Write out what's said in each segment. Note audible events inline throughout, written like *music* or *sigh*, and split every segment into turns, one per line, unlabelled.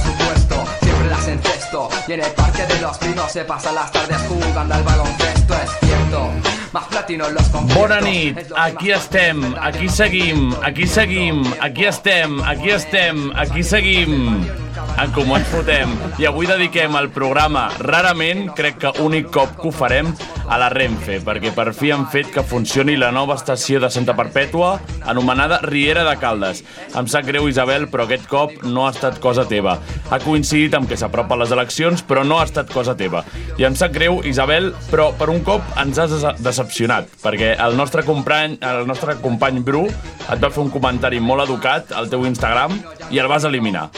supuesto. Siempre las encesto. Y en el parque de los pinos se pasan las tardes jugando al baloncesto, es cierto. Más platino los conciertos.
Bona nit, aquí estem, aquí seguim, aquí seguim, aquí estem, aquí estem, aquí seguim. En comú ens fotem. I avui dediquem el programa, rarament, crec que únic cop que ho farem, a la Renfe, perquè per fi han fet que funcioni la nova estació de Santa Perpètua, anomenada Riera de Caldes. Em sap greu, Isabel, però aquest cop no ha estat cosa teva. Ha coincidit amb que s'apropen les eleccions, però no ha estat cosa teva. I em sap greu, Isabel, però per un cop ens has desa- decepcionat, perquè el nostre company, el nostre company Bru et va fer un comentari molt educat al teu Instagram i el vas eliminar.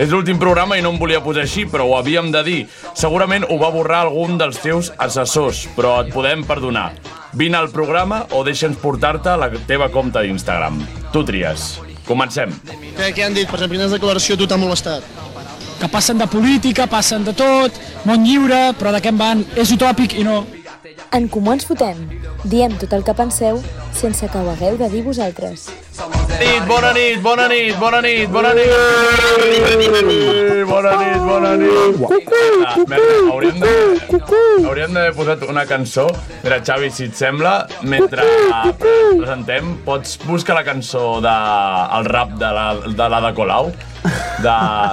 És l'últim programa i no em volia posar així, però ho havíem de dir. Segurament ho va borrar algun dels teus assessors, però et podem perdonar. Vine al programa o deixa'ns portar-te a la teva compte d'Instagram. Tu tries. Comencem.
Què, què han dit? Per exemple, quines declaració a tu t'ha molestat?
que passen de política, passen de tot, món lliure, però de què en van? És utòpic i no.
En Comú Ens Fotem. Diem tot el que penseu sense que ho hagueu de dir vosaltres.
nit, bona nit, bona nit, bona nit, bona nit. Bona nit, bona
Uhuh,
nit. Ah, merda, hauríem de, hauríem d'haver posat una cançó. Mira, Xavi, si et sembla, mentre ah, presentem, pots buscar la cançó de, el rap de la de, la de Colau, de-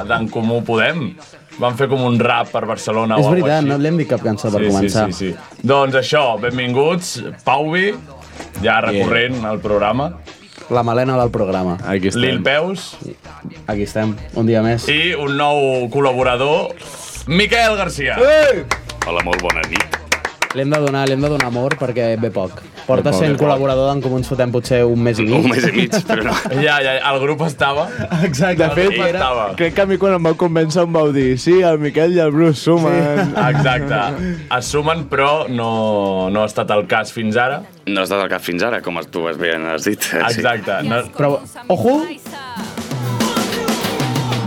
d'en de, Comú Podem. Van fer com un rap per Barcelona o
És
alguna
veritat,
així.
no li hem dit cap cançó per
sí,
començar.
Sí, sí, sí. Doncs això, benvinguts, Pauvi, ja recurrent al programa,
La melena del programa.
Aquí
Lil
estem.
Peus,
Aquí estem, un dia més.
i un nou col·laborador, Miquel Garcia.
Hola, molt bona nit.
L'hem de donar, l'hem de donar amor perquè ve poc. Porta
Ve poc,
sent
ve poc.
col·laborador d'en Comú ens fotem potser un mes i mig.
Un mes i
*laughs*
mig, però no.
Ja, ja, el grup estava.
Exacte, de fet,
Ell
era,
estava.
crec que a mi quan em vau convèncer em vau dir sí, el Miquel i el Bruce sumen.
Exacte. Es sumen, però no, no ha estat el cas fins ara.
No has estat al cap fins ara, com tu has ben has dit. Eh, Sí.
Exacte. No,
Però, ojo,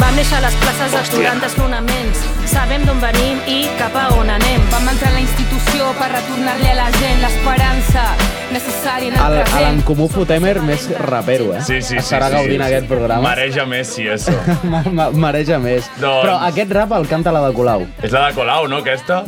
Vam néixer a les places dels
Hòstia.
90 desnonaments. Sabem d'on venim i cap a on anem. Vam entrar a la institució per retornar-li a la gent l'esperança necessària en
el- a l'en Comú Fotemer més rapero, eh?
sí, sí, sí.
Estarà
sí,
gaudint
sí.
aquest programa.
Mareja Messi, eso.
*laughs* Ma- ma- Mareja més.
Doncs-
Però aquest rap el canta la de Colau.
És la de Colau, no, aquesta?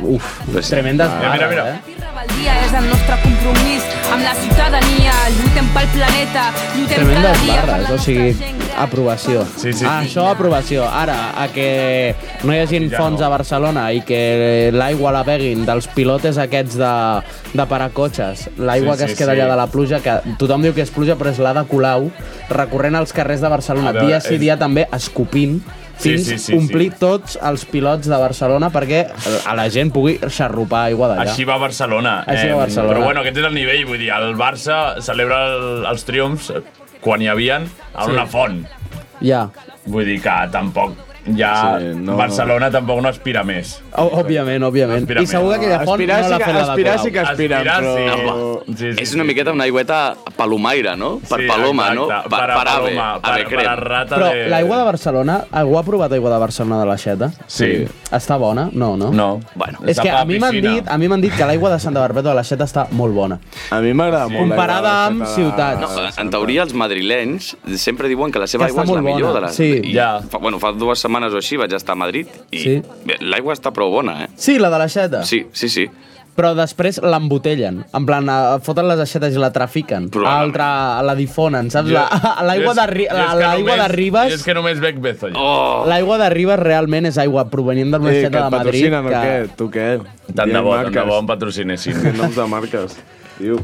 Uf,
Pues sí.
tremenda
Ah, Mira, mira, mira.
esbarra, eh?
Rebeldia és el nostre compromís amb la ciutadania. Lluitem pel planeta, lluitem cada
Tremendes
dia per la
barres, o
nostra
sigui,
gent gran.
aprovació.
Sí, sí.
Ah, això, aprovació. Ara, a que no hi hagi
Ja
fons
no.
a Barcelona i que l'aigua la beguin dels pilotes aquests de, de paracotxes, l'aigua
Sí,
que
sí,
es queda
sí.
allà de la pluja, que tothom diu que és pluja, però és la de Colau, recorrent als carrers de Barcelona,
A veure,
dia sí,
és-
dia també, escopint,
Sí,
fins
sí, sí,
omplir
sí.
tots els pilots de Barcelona perquè eh, a la gent pugui xarrupar aigua d'allà.
Així va Barcelona.
Així va Barcelona.
Però bueno, aquest és el nivell, vull dir, el Barça celebra el, els triomfs quan hi havien a una font.
Ja,
Vull dir que tampoc ja
Sí, no.
Barcelona tampoc no aspira més.
Ó- òbviament, òbviament.
Aspira
I segur que
més.
aquella font
Aspirar
no
sí
l'ha
que,
fet la de
aspirar sí que
Colau.
aspiren,
Aspirar sí.
però...
Home,
Sí, sí,
és una
sí.
miqueta una aigüeta palomaire, no? Per Paloma,
exacte.
no?
Per, per,
per Ave,
Paloma, per,
Ave
per,
Crem.
la rata
Però
de...
l'aigua de Barcelona, algú ha provat aigua de Barcelona de l'aixeta?
Sí.
Està bona? No, no?
No.
Bueno.
És que a mi m'han
piscina.
dit, a mi m'han dit que l'aigua de Santa Barbeta de l'aixeta està molt bona.
A mi m'agrada molt la
Comparada
idea de
amb
la-
ciutats.
No, en teoria els madrilenys sempre diuen que la
Que
seva
està
aigua és la
molt
millor
bona,
de les...
sí.
I
Ja.
fa, bueno, fa dues setmanes o així vaig estar a Madrid i
Sí.
bé, l'aigua està prou bona, eh?
Sí, la de l'aixeta.
Sí, sí, sí.
Però després l'embotellen. En plan, eh, foten les aixetes i la trafiquen. A
Probablement.
altra, la difonen, saps? La- *laughs*
Jo-
L'aigua
jo és-
de, ri-
jo és
la-
que
l'aigua de
només- Jo
Ribes...
és que només bec Bezo. Oh.
Oh!
L'aigua de Ribes realment és aigua provenient d'una
Eh, que
aixeta
et
de Madrid.
patrocinen o què? Tu què?
Tant de
Diem
bo, tant de
marques.
bo em patrocinessin.
Que noms de marques. Diu.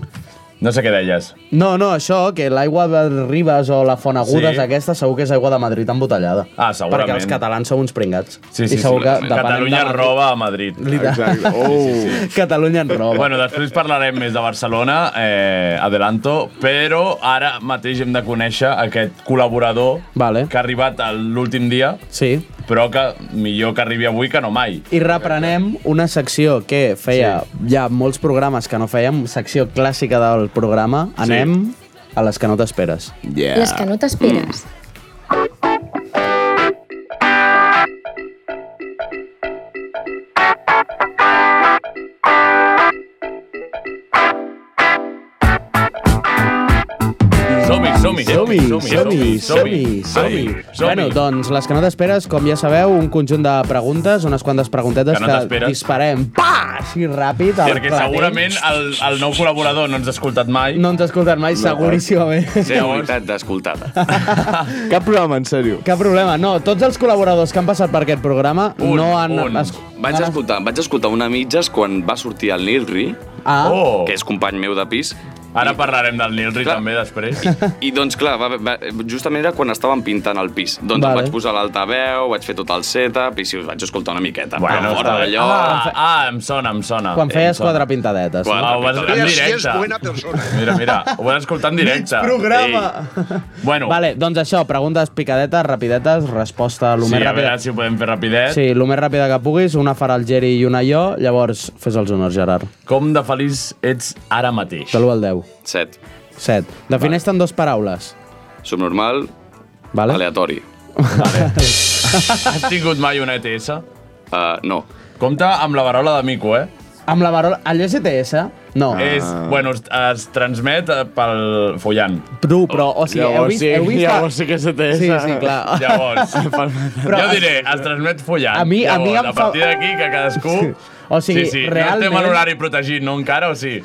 No sé què deies.
No, no, això, que l'aigua de Ribes o la Font Agudes
Sí.
sí. aquesta segur que és aigua de Madrid embotellada.
Ah, segurament.
Perquè els catalans sou uns pringats.
Sí, sí,
I segur
sí.
que depenem
Catalunya
de Madrid.
roba a Madrid.
Exacte. Oh.
Catalunya en roba.
Bueno, després parlarem més de Barcelona, eh, adelanto, però ara mateix hem de conèixer aquest col·laborador
Vale.
que ha arribat a l'últim dia
Sí.
però que millor que arribi avui que no mai.
I reprenem una secció que feia sí. ja molts programes que no fèiem, secció clàssica del programa. Anem sí. a les que no t'esperes. Yeah.
Les que no t'esperes.
Som-hi, som-hi,
Som-hi, som-hi, som-hi, som-hi.
Ai, som-hi.
Bueno, doncs, les que no t'esperes, com ja sabeu, un conjunt de preguntes, unes quantes preguntetes
Que no
que,
t'esperes.
disparem, pa, així ràpid. al
Perquè
clatell.
segurament el, el nou col·laborador no ens ha escoltat mai.
eh? No ens escolten mai, seguríssimament. *laughs*
Seguretat d'escoltada.
Cap problema, en sèrio. Cap problema. No, tots els col·laboradors que han passat per aquest programa
Un,
no han...
un.
es-
Vaig escoltar, vaig escoltar una mitges quan va sortir el Nilri,
Ah.
Oh.
que és company meu de pis.
Ara parlarem del Nilri també després.
I, I doncs clar, va, va, justament era quan estaven pintant el pis. Doncs
Vale.
vale. vaig posar l'altaveu, vaig fer tot el setup i si us vaig escoltar una miqueta.
Bueno,
*laughs* Bueno, fora
està bé.
d'allò...
Ah, ah, em sona, em sona.
Quan
Em
feies
sona.
quatre pintadetes.
Quan, ah, ho vas escoltar en
Mira si
directe.
és buena
*laughs* Mira, mira, ho vas escoltar en directe. Bueno.
Vale, doncs això, preguntes picadetes, rapidetes, resposta
Sí,
lo
sí
més
a
ràpida.
veure si ho podem fer rapidet.
Sí, el més ràpida que puguis, una farà el Geri i una jo, llavors fes els honors, Gerard.
Com de feliç ets ara mateix?
De l'1 al 10.
7.
7. Defineix-te en dues paraules.
Subnormal,
vale.
aleatori.
Has tingut mai una E ETS?
Uh, no.
Compte amb la barola de mico, eh?
Amb la barola... Allò és ETS? No.
És, bueno, es, es transmet eh, pel follant.
Tu, però, o sigui, heu vist... heu vist
sí que és ETS.
Sí, sí, clar.
*laughs* Llavors,
Però-
però, jo diré, es transmet follant.
A mi- a mi
Llavors,
em
a
fa-
partir d'aquí, que cadascú...
O sigui,
sí, sí, No
realment-
estem en horari protegit, no encara, o sí?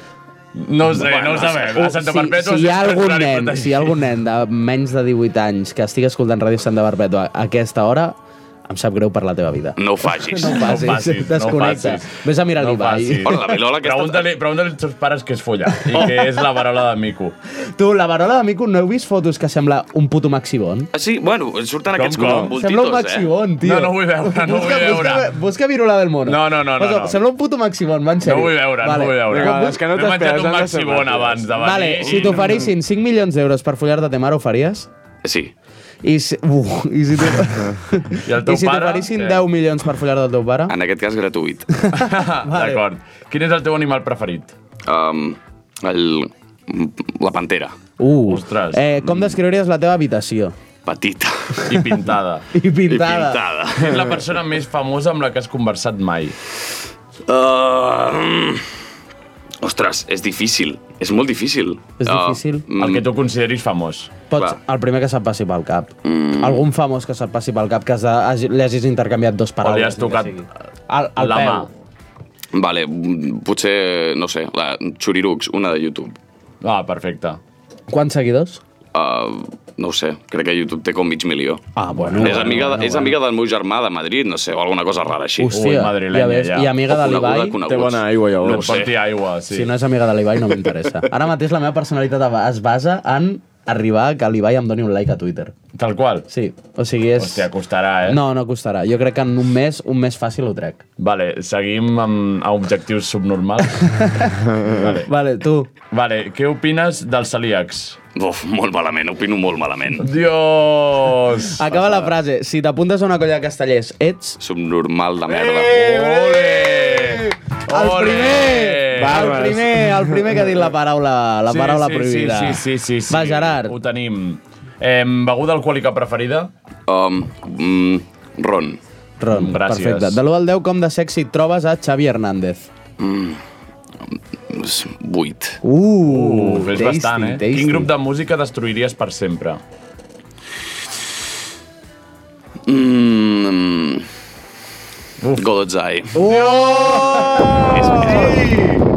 No ho sé, bueno, no ho sabem. A Santa Perpètua...
si, si hi ha
sí que
algun
horari
nen,
protegit.
si hi ha algun nen de menys de 18 anys que estigui escoltant Ràdio Santa Perpètua a aquesta hora, em sap greu per la teva vida.
No ho facis.
*laughs* No ho facis, desconnecta. Vés a mirar l'Ibai.
Hola, la Vilola,
que està-
pregunta-li, pregunta-li als teus pares què és follar i
Oh.
què és la barola de mico.
Tu, la barola de Mico, no heu vist fotos que sembla un puto maxibon?
Ah, sí, bueno, surten aquests
com?
com? voltitos,
Sembla un
eh?
maxibon, tio.
No, no ho vull veure, no ho vull
Busca,
veure.
busca Virula del Mono.
No, no, no, no,
Posa-
no.
Sembla un puto maximon, va en
No
sèrio.
ho vull veure, no ho vull veure. Vinga, les que no M'he menjat t'esperes, un han de ser maxibon ràpides. abans de venir
Vale,
i-
si t'oferissin 5 milions d'euros per follar de te mare, ho faries?
Sí.
I si, uh, i si t'ho-
I el
*laughs* i
teu
si
pare...
t'oferissin 10 milions per follar del teu pare?
En aquest cas,
*laughs*
gratuït.
D'acord. Quin és el teu animal preferit?
Um, el, la pantera.
Uh,
Ostres.
eh, com descriuries la teva habitació?
Petita.
*laughs* I pintada.
I pintada. *laughs*
Qui És la persona més famosa amb la que has conversat mai.
Uh, ostres, és difícil. És molt difícil. Uh,
És difícil?
El que tu consideris famós.
Pots, el primer que se't passi pel cap. Mm. Algun famós que se't passi pel cap que has de, hagi, li hagis intercanviat dos
O li
paraules.
has tocat
Al, al
la
peu.
mà.
Vale, mm, potser, no sé, la Xurirucs, una de YouTube.
Ah, perfecte.
Quants seguidors?
Uh, no ho sé, crec que YouTube té com mig milió.
Ah, bueno.
és amiga, de, és amiga del meu germà de Madrid, no sé, o alguna cosa rara així.
Hòstia, Ui, madrilenya, ja ves, ja. i amiga
O
de
coneguda,
l'Ibai.
coneguts.
Té bona aigua, llavors.
No ho sé.
Porti
aigua,
Sí. Si no és amiga de l'Ibai, no
*laughs*
m'interessa. Ara mateix la meva personalitat es basa en arribar a que l'Ibai em doni un like a Twitter.
Tal qual?
Sí, o sigui, és...
Hòstia, costarà, eh?
No, no costarà. Jo crec que en un mes, un mes fàcil ho trec.
Vale, seguim amb objectius
*laughs*
subnormals. Eh, vale.
vale, tu.
Vale, què opines dels celíacs?
Uf, molt malament, opino molt malament.
*laughs*
Dios!
Acaba la frase. Si t'apuntes a una colla de castellers, ets...
Subnormal de merda.
Eh! El primer! El
Barbes.
primer, el primer que ha dit la paraula, la paraula prohibida.
Sí, sí, sí, sí, sí.
Va, Gerard.
Ho tenim. Eh, beguda alcohòlica preferida?
Um, mm, ron.
Ron,
Gràcies.
Perfecte. De l'1 al 10, com de sexy et trobes a Xavi Hernández?
Mm, 8.
Uh,
Uf, és
tasty,
bastant, eh?
tasty.
Quin grup de música destruiries per sempre?
Mm, Godot's Eye.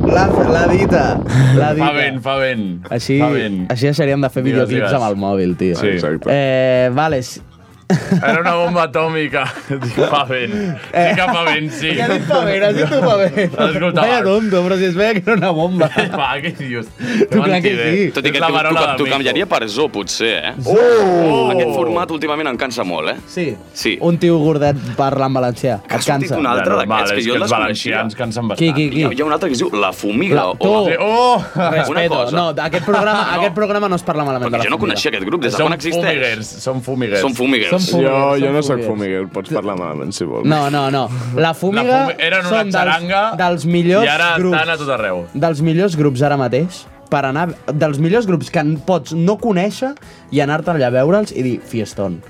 La, la dita. La dita.
Fa vent, fa vent.
Així,
Fa vent.
així deixaríem de fer
Digues,
videoclips
digues.
amb el mòbil, tio.
Sí. Exacte.
Eh, vale, s-
Era una bomba atòmica. *laughs* Dic, fa vent. Sí que fa vent, sí.
Eh. Ja dit fa vent, has dit tu fa vent.
Escolta,
Vaya tonto, però si es veia que era una bomba.
*laughs* Va, què dius?
Tu clar que sí.
Tot i que
És la
tu, tu,
Marola
tu
d'Amico.
canviaria per Zo, potser, eh? Oh! Aquest format últimament em cansa molt, eh?
Sí.
Sí.
Un tio gordet parla en valencià. Que et cansa.
un altre d'aquests que jo el desconeixia.
valencians cansen
Qui, qui, qui?
Hi ha, hi ha un altre que es diu La Fumiga.
La-
o la...
tu.
*laughs*
Oh!
Una
Respeto.
cosa.
No, aquest programa,
No.
aquest programa no es parla malament
Perquè
de la
jo no
família.
coneixia aquest grup, des de quan existeix?
Són fumiguers.
Són fumiguers.
Són
Jo,
fumiguers,
jo
són
no sóc
fumiguers.
fumiguer, pots parlar malament si vols.
No, no, no. La fumiga
La fumi- eren una
són dels,
xaranga
dels millors
i ara
grups.
estan a tot
arreu.
Dels millors grups ara mateix per anar... Dels millors grups que en pots no conèixer i anar-te allà a veure'ls i dir fiestón.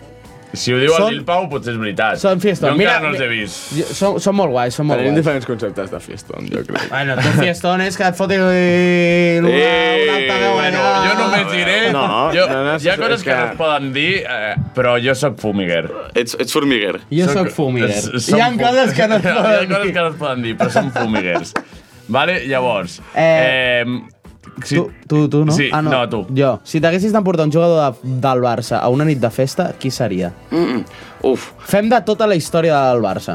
Si ho diu
Són-
el Lil Pau, potser és veritat.
Són fiestón.
Jo encara no
Mira,
els he vist.
Jo- Són, són molt guais, són molt
Tenim
guais.
diferents conceptes de fiestón, jo crec.
Bueno, tu fiestón és que et foti eh, una, una altaveu
bueno,
allà.
jo només diré...
No,
jo,
no, no,
hi ha
és
coses que,
que-
no es poden dir, eh, però jo sóc fumiguer.
Ets, ets formiguer.
Jo sóc fumiguer.
som
Hi ha
fu-
coses que no es poden
*laughs* Hi ha coses que no es poden dir, però som fumiguers. vale? Llavors... Eh, si,
Tu, tu, tu no?
Sí,
ah, no.
no, tu.
Jo. Si t'haguessis d'emportar un jugador de, del Barça a una nit de festa, qui seria?
Mm, mm. Uf,
Fem de tota la història del Barça.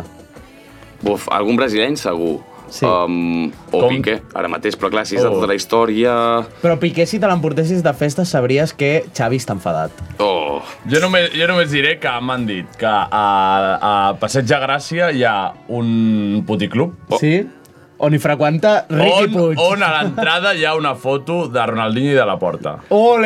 Buf, algun brasileny segur. Sí. Um, o Com? Piqué, ara mateix, però clar, si és de
Oh.
tota la història...
Però Piqué, si te l'emportessis de festa, sabries que Xavi està enfadat.
Oh.
Jo només, jo només diré que m'han dit que a, a Passeig de Gràcia hi ha un puticlub.
Oh. Sí? On hi freqüenta Riqui
on,
Puig.
on a l'entrada hi ha una foto de Ronaldinho i de la Porta.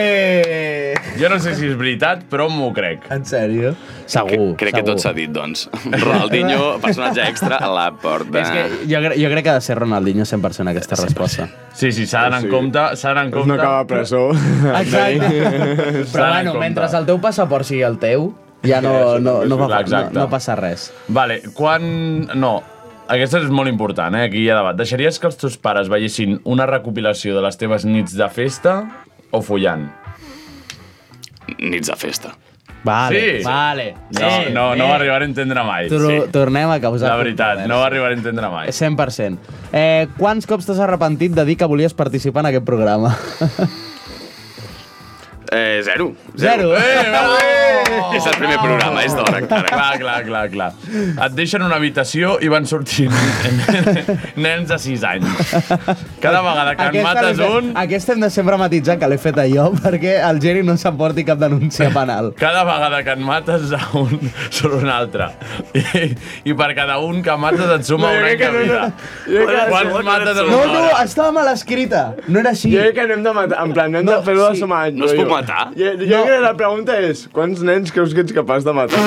Ole!
Jo no sé si és veritat, però m'ho crec.
En sèrio?
Segur, Crec
Oh,
que
segur.
tot s'ha dit, doncs.
*laughs*
Ronaldinho, personatge extra a la porta.
És que jo, cre- jo crec que ha de ser Ronaldinho 100% aquesta resposta.
eh? Sí, sí, s'ha d'anar en compte, s'ha d'anar en
Pues
compte.
no acaba a
presó.
Exacte. Però bueno, mentre el teu passaport sigui el teu, ja no, no, no, no, no,
Exacte.
no passa res.
Vale, quan... No, aquesta és molt important, eh? Aquí hi ha debat. Deixaries que els teus pares veiessin una recopilació de les teves nits de festa o follant?
Nits de festa.
Vale,
Sí. eh.
vale.
No, no, no va arribar a entendre mai.
Tor
sí.
Tornem a causar...
La veritat, no va arribar a entendre mai.
100%. Eh, quants cops t'has arrepentit de dir que volies participar en aquest
*laughs*
programa?
Eh, zero.
Zero.
Eh, bravo!
Oh, És el primer programa, és d'hora encara.
Clar, clar, clar, clar. Et deixen una habitació i van sortint *laughs* nens de 6 anys. Cada vegada que en mates
l'he fet-
un,
Aquesta hem de sempre matisar que l'he fet jo *laughs* perquè el Geri no s'emporti cap denúncia penal.
Cada vegada que en mates a un, surt un altre. I, I per cada un que mates et suma
No, jo
un any
crec
de
que no,
vida.
no. Jo crec que
Quants
no, no,
mates en
No,
una
no,
hora?
estava mal escrita. No era així.
Jo crec que no hem de matar, en plan, no hem no, de fer-ho de sumar anys.
No es pot
rotllo.
matar?
Jo, jo no. crec que la pregunta és, quants nens creus que ets capaç de
*laughs*
matar?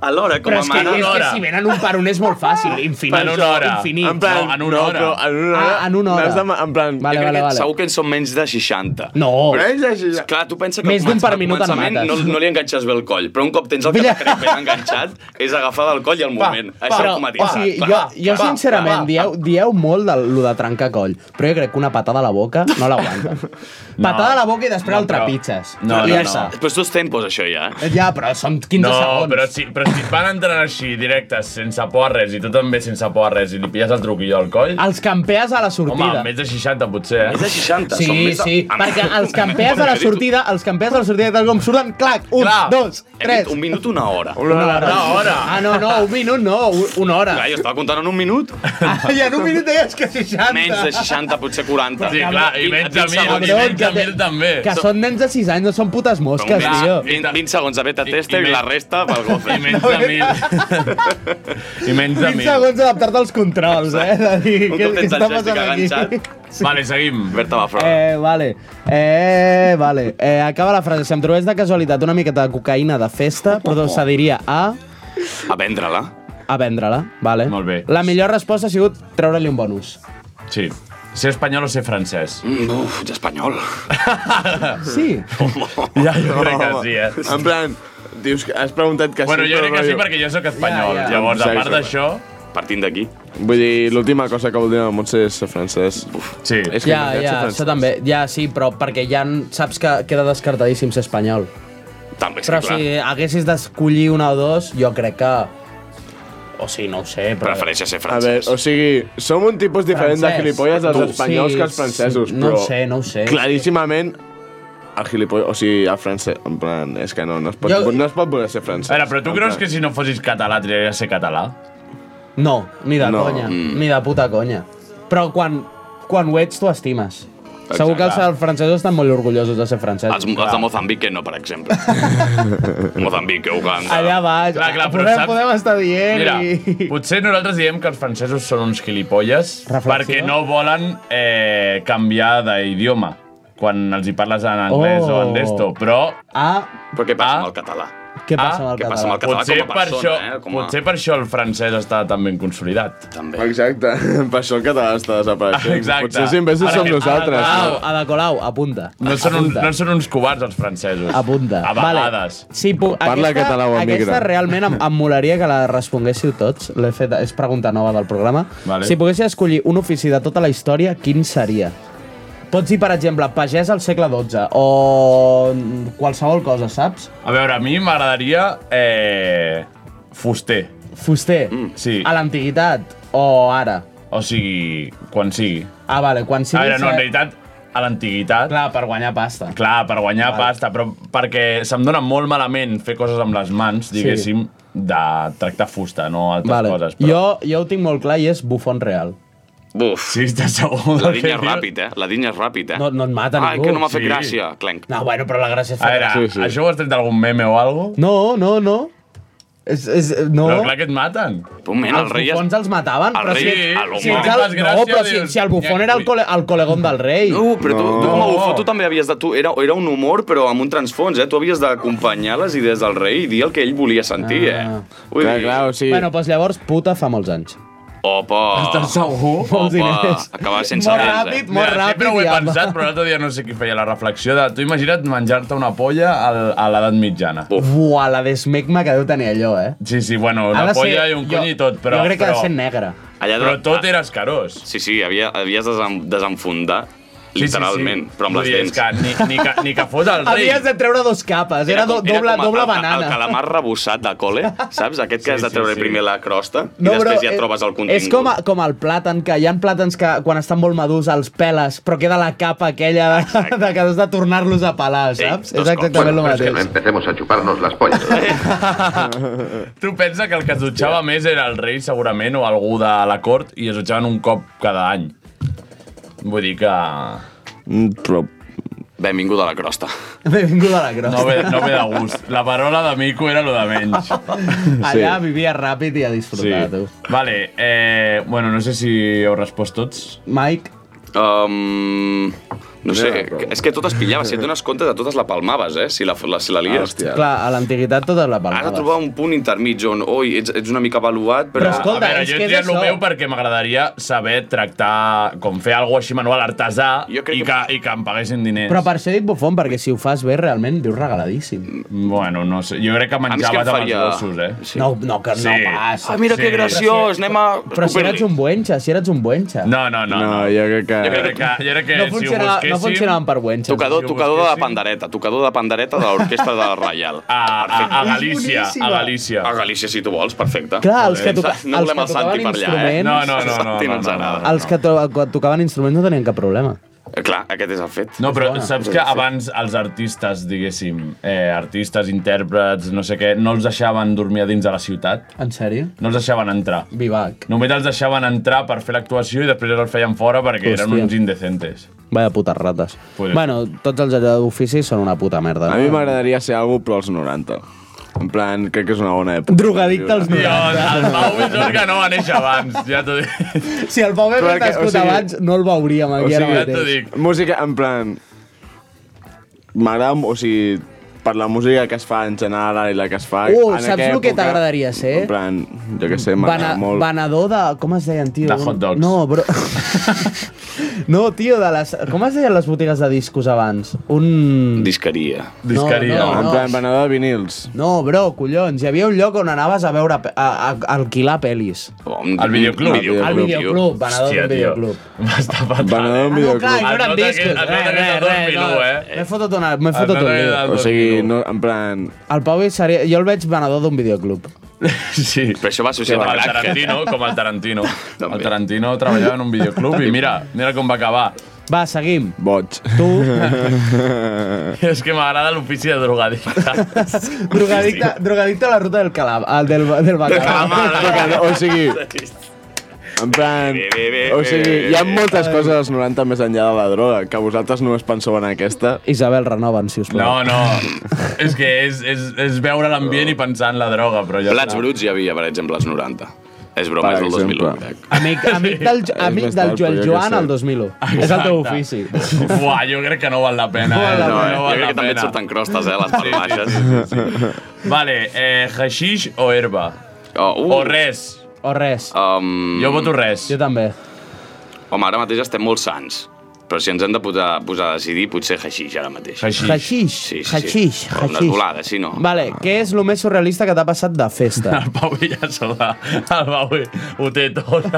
Alhora,
com a mare. Alhora.
venen un per un és molt fàcil, infinit.
Per això, En plan, no, però En una hora.
Ah, en una hora.
n'has De, ma- en plan,
Vale,
Jo crec
vale,
que
vale.
Segur que en són menys de 60.
No.
Però
Menys de 60.
Clar, tu pensa que
Més d'un
al
per minut en
començament
mates.
no, no li enganxes bé el coll, però un cop tens el cap ben enganxat, és agafar del coll al moment.
Pa,
Això
però, o
automatitzat.
sigui,
Clar,
jo, jo
clar,
sincerament,
clar.
dieu, dieu molt de lo de trencar coll, però jo crec que una patada a la boca no
*laughs*
l'aguanta. no, patada a la boca i després no, el trepitges. I ja està.
Però és dos tempos, això, ja. eh?
Ja, però són 15
no,
segons.
però si, però si et van entrant així, directes, sense por a res, i tu també sense por a res, i li pilles el truquillo al coll...
Els campees a la
Home,
Ah, sortida.
més de 60, potser, eh?
Més de Ah, 60,
Sí, sí, perquè els campees a la sortida, els campees a la sortida, tal com surten, clac, un,
Clar.
dos,
Hem dit
tres.
Un minut, una hora.
Una hora.
Ah, no, no, un minut no, u- una hora.
Clar, jo estava comptant en un minut.
Ah, ja en
*laughs*
un minut deies que 60.
Menys de 60, potser 40.
Sí, clar, i menys de 1.000, i
Cabrón,
menys de
que te-
1.000 també.
Que són nens de 6 anys, no són putes
Però
mosques,
un
tio.
20, 20 segons de beta tester i,
menys-
la resta
*laughs*
pel gofer.
I menys de 1.000. *laughs* I menys de
20
1.000.
segons d'adaptar-te als controls, eh? De dir,
Un
què,
cop
què
tens
està
el
passant
joystick
aquí?
enganxat.
Vale, seguim.
Berta va fora.
Eh, vale. Eh, vale. Eh, acaba la frase. Si em trobés de casualitat una miqueta de cocaïna de festa, però se diria a...
A vendre-la.
a vendre-la, vale? Molt bé. La millor resposta ha sigut treure-li un bonus.
Sí. Ser espanyol o ser francès?
Mm, uf, ja espanyol.
*laughs*
Sí.
Ja, jo crec que sí, eh?
En plan, dius que has preguntat que
Bueno,
sí,
jo crec que sí
rotllo-
perquè jo sóc espanyol.
Ja, ja.
Llavors, a
Sí,
part
sí.
d'això...
Partint d'aquí.
Vull dir, l'última cosa que voldria la Montse és ser francès.
Sí.
És que
Ja, ja, això també. Ja, sí, però perquè ja n- saps que queda descartadíssim ser espanyol.
També,
Però si haguessis d'escollir una o dos, jo crec que... O sigui, no ho sé, però...
Prefereixes ser
A veure, o sigui, som un tipus diferent
Francès.
de gilipolles dels
Tu.
espanyols
Sí,
que els francesos,
sí, no ho
però...
sé, no ho sé.
Claríssimament, el gilipolles, o sigui, el francès, en plan, és que no, no es pot,
Jo-
no es pot voler ser francès.
A veure, però tu
En
creus
plan.
que si no fossis català triaries ser català?
No, ni de
No.
no. conya,
Mm.
ni de puta conya. Però quan, quan ho ets, t'ho estimes. Exacte. Segur que els, els francesos estan molt orgullosos de ser francesos.
Els, els de Mozambique no, per
*laughs*
exemple. Mozambique, Uganda...
Allà baix,
Clar, clar, però
podem,
saps-
podem estar dient...
Mira,
i...
potser nosaltres diem que els francesos són uns gilipolles perquè no volen eh, canviar d'idioma quan els hi parles en anglès
Oh.
o en d'esto, però...
Ah,
Però què passa amb el català?
Què passa amb el
què
català?
passa amb el català
potser
com a persona,
per això,
eh? Com a...
Potser per això el francès està tan ben consolidat.
També.
Exacte, per això el català està desapareixent.
Exacte.
Potser si en vez
Ara
som
que-
nosaltres.
Ah,
no?
Au, Ada Colau, apunta.
No són, un,
Apunta.
no són uns covards, els francesos.
Apunta.
A vegades.
Vale. Sí, pu-
Parla
aquesta,
català o emigra.
Aquesta realment em, em molaria que la responguéssiu tots. L'he fet, és pregunta nova del programa.
Vale.
Si poguessis escollir un ofici de tota la història, quin seria? Pots dir, per exemple, pagès al segle XII o qualsevol cosa, saps?
A veure, a mi m'agradaria... Eh, fuster.
Fuster, mm.
Sí.
a l'antiguitat o ara?
O sigui, quan sigui.
Ah, vale, quan
Sí,
sigui...
a veure, no,
ser-
en realitat, a l'antiguitat...
Clar, per guanyar pasta.
Clar, per guanyar vale. pasta, però perquè se'm dona molt malament fer coses amb les mans, diguéssim, sí. de tractar fusta, no altres
Vale.
coses.
Jo, jo ho tinc molt clar i és bufon real.
Buf.
Sí, estàs segur
La
del que
dinya és
dius?
ràpid, eh? La dinya és ràpid, eh?
No- no et mata
Ai,
ningú.
que no m'ha fet
Sí.
gràcia. Clenc.
No, bueno, però la gràcia és
A veure,
fer...
sí,
Sí,
sí.
sí.
això ho has tret d'algun meme o alguna cosa?
No, no, no. És, és, no.
Però clar que et maten.
Però, men, el
els
rei...
bufons els mataven,
el
però
rei-
si,
a lo
si,
mort.
ets el,
Fas
no,
gràcia,
però si,
dius,
si el bufon era el, cole, el colegón del rei.
No, però tu, tu com a
No.
bufó, tu també havies de... Tu, era, era un humor, però amb un transfons, eh? Tu havies d'acompanyar les idees del rei i dir el que ell volia sentir,
Ah.
eh?
Clar, clar, o sigui...
Bueno, doncs llavors, puta fa molts anys.
Opa!
Estàs segur?
Molts diners.
acabava sense
Molt
dents, eh?
ràpid, molt
Mira,
ràpid.
Sempre ho he
i amb-
pensat, però l'altre dia no sé qui feia la reflexió de... Tu imagina't menjar-te una polla al- a l'edat mitjana.
Buah, la d'esmegma que deu tenir allò, eh?
Sí, sí, bueno,
Ha
una
de ser-
polla i un
jo-
cony i tot, però...
Jo crec que ha
però,
de ser negre.
Allà de- ah,
Però tot era escarós.
Sí, sí, havia, havies de desem, desenfundar,
Sí, sí,
literalment,
sí.
però amb
Vull
les
dir,
dents.
és que ni, ni, que, ni que fos
*laughs*
el rei.
Havies de treure dos capes, era, do,
com-
doble,
com
doble
el, El,
banana.
el calamar rebussat de cole, saps? Aquest que
Sí,
has de
sí,
treure
sí.
primer la crosta
No,
i després
però
ja
és-
trobes el contingut.
És com, a, com el plàtan, que hi ha plàtans que quan estan molt madurs els peles, però queda la capa aquella de, de que has de tornar-los a pelar,
Sí,
saps?
dos
és exactament el mateix.
empecemos a chuparnos las pollas.
Tu pensa que el que es dutxava més era el rei, segurament, o algú de la cort, i es dutxaven un cop cada any. Vull dir que...
Mm, Però...
Benvingut a la crosta.
Benvinguda a la crosta.
No ve, no ve de gust. La parola de Mico era lo de menys.
Allà vivia ràpid i a disfrutar, *laughs* sí. tu.
Vale, eh, bueno, no sé si heu respost tots.
Mike,
Um, no sé,
Ja, però-
és que totes pillaves, si et dones compte de totes la palmaves, eh? Si la, la, si la lies.
Hòstia.
clar, a l'antiguitat tota la
Has de
palmaves.
trobar un punt intermig on, oi, ets, ets una mica avaluat, però...
Però escolta,
Ah, a veure,
ens
jo he
queda
triat el
això.
meu perquè m'agradaria saber tractar, com fer alguna així manual artesà i
Jo crec
que,
que-
i que em paguessin diners.
Però per això he dit bufon, perquè si ho fas bé, realment vius
Mm,
regaladíssim.
Bueno, no sé, jo crec que
a mi és que
menjaves
em faria...
amb els gossos, eh?
Sí.
Sí. No, no, que no
Sí.
passa.
Ai, mira que
Sí.
graciós, anem a...
Però si eres un buenxa, si eres un buenxa.
No, no, no.
No,
no.
jo crec que...
Jo crec que, jo crec que
no,
si ho
funciona,
busquéssim...
no funcionaven per buenxes.
Tocador,
Si ho
tocador de
busquéssim-
pandereta, tocador de pandereta de l'orquestra de la
Ah,
Reial.
A, a, a Galícia, a Galícia.
A Galícia, si tu vols, perfecte.
Clar, els que toca-
No
els
volem
que
el Santi
tocaven
per allà, eh?
instruments-
No, no, no,
El Santi
no,
no ens
no, no,
agrada.
no.
Els que to quan tocaven instruments no tenien cap problema.
Eh, Clar, aquest és el fet.
No, però
Bona.
saps que abans els artistes, diguéssim, eh, artistes, intèrprets, no sé què, no els deixaven dormir a dins de la ciutat?
En sèrio?
No els deixaven entrar.
Vivac.
Només els deixaven entrar per fer l'actuació i després els feien fora perquè eren
Hòstia.
uns indecentes.
Vaya putes rates.
Pues-
Bueno, tots els oficis són una puta merda.
A mi m'agradaria ser algú, però als 90. En plan, crec que és una bona època.
Drogadicte als
Dios,
90.
Doncs, el Pau és el que no va néixer abans, ja t'ho dic.
Si el Pau hagués
Perquè,
nascut
o sigui-
abans, no el veuríem
O
aquí
sigui,
ara
Ja t'ho
mateix.
dic.
Música, en plan... *laughs* M'agrada, o sigui, per la música que es fa en general ara i la que es fa...
Uh,
en aquella
saps el que eh?
època,
t'agradaria ser?
En plan, jo què sé, m'agrada
Bana,
molt...
Venedor de... Com es deien, tio?
De hot dogs.
No, bro... *laughs* no, tio, de les... Com es deien les botigues de discos abans? Un...
Disqueria.
Discaria.
no,
En
no.
plan, venedor de vinils.
No, bro, collons. Hi havia un lloc on anaves a veure... pe- A, a, a alquilar pel·lis.
O un-
Al videoclub.
un
Al
Club,
videoclub, venedor
Hòstia, tio.
d'un videoclub.
Va estar fatal.
Venedor de
Ah, no, clar,
videoclub.
Es nota que- es nota que és
i no eren discos.
del 2001, eh?
M'he fotut, una, m'he
Es
fotut
nota
un
que és
lío.
del-
O sigui, no, en plan...
El Pau és seri... Jo el veig venedor d'un videoclub.
*laughs* Sí.
Però això va associat
Com
a
el
crack.
Tarantino, com el Tarantino.
També.
El Tarantino treballava en un videoclub i mira, mira com va acabar. *laughs*
Va, seguim.
Boig. *laughs*
Tu,
És que m'agrada l'ofici de
*laughs*
drogadicte.
drogadicte, drogadicte a la ruta del calab, el del, del bacalà.
Tocador, o sigui... En plan...
Bé, bé, bé,
O sigui, hi ha
bé, bé.
moltes coses als 90 més enllà de la droga, que vosaltres només penseu en aquesta.
Isabel, renoven, si us plau.
No, no. És que és, és, és veure l'ambient i pensar en la droga, però ja
Plats bruts hi havia, per exemple, als 90. És broma, és del 2001.
Amic, amic del, amic
més
del
tard,
Joel
però jo què
Joan
sé.
al 2001. És el teu ofici.
*laughs* Buah, jo crec que no val la pena.
No,
eh?
no,
val
eh? jo crec
la
que també et
pena.
surten crostes, eh, les parts baixes.
Vale, eh, hashish o herba?
Oh, uh.
O res.
O res.
Um...
Jo voto res.
Jo també.
Home, ara mateix estem molt sants. Però si ens hem de posar, posar a decidir, potser haixix ara mateix.
Haixix.
*laughs*
Haixix,
Sí, sí, sí.
haixix,
Però Unes
haixix.
volades, sí, no?
Vale, què és el més surrealista que t'ha passat de festa?
El Pau Villassola. El Pau ho té tot.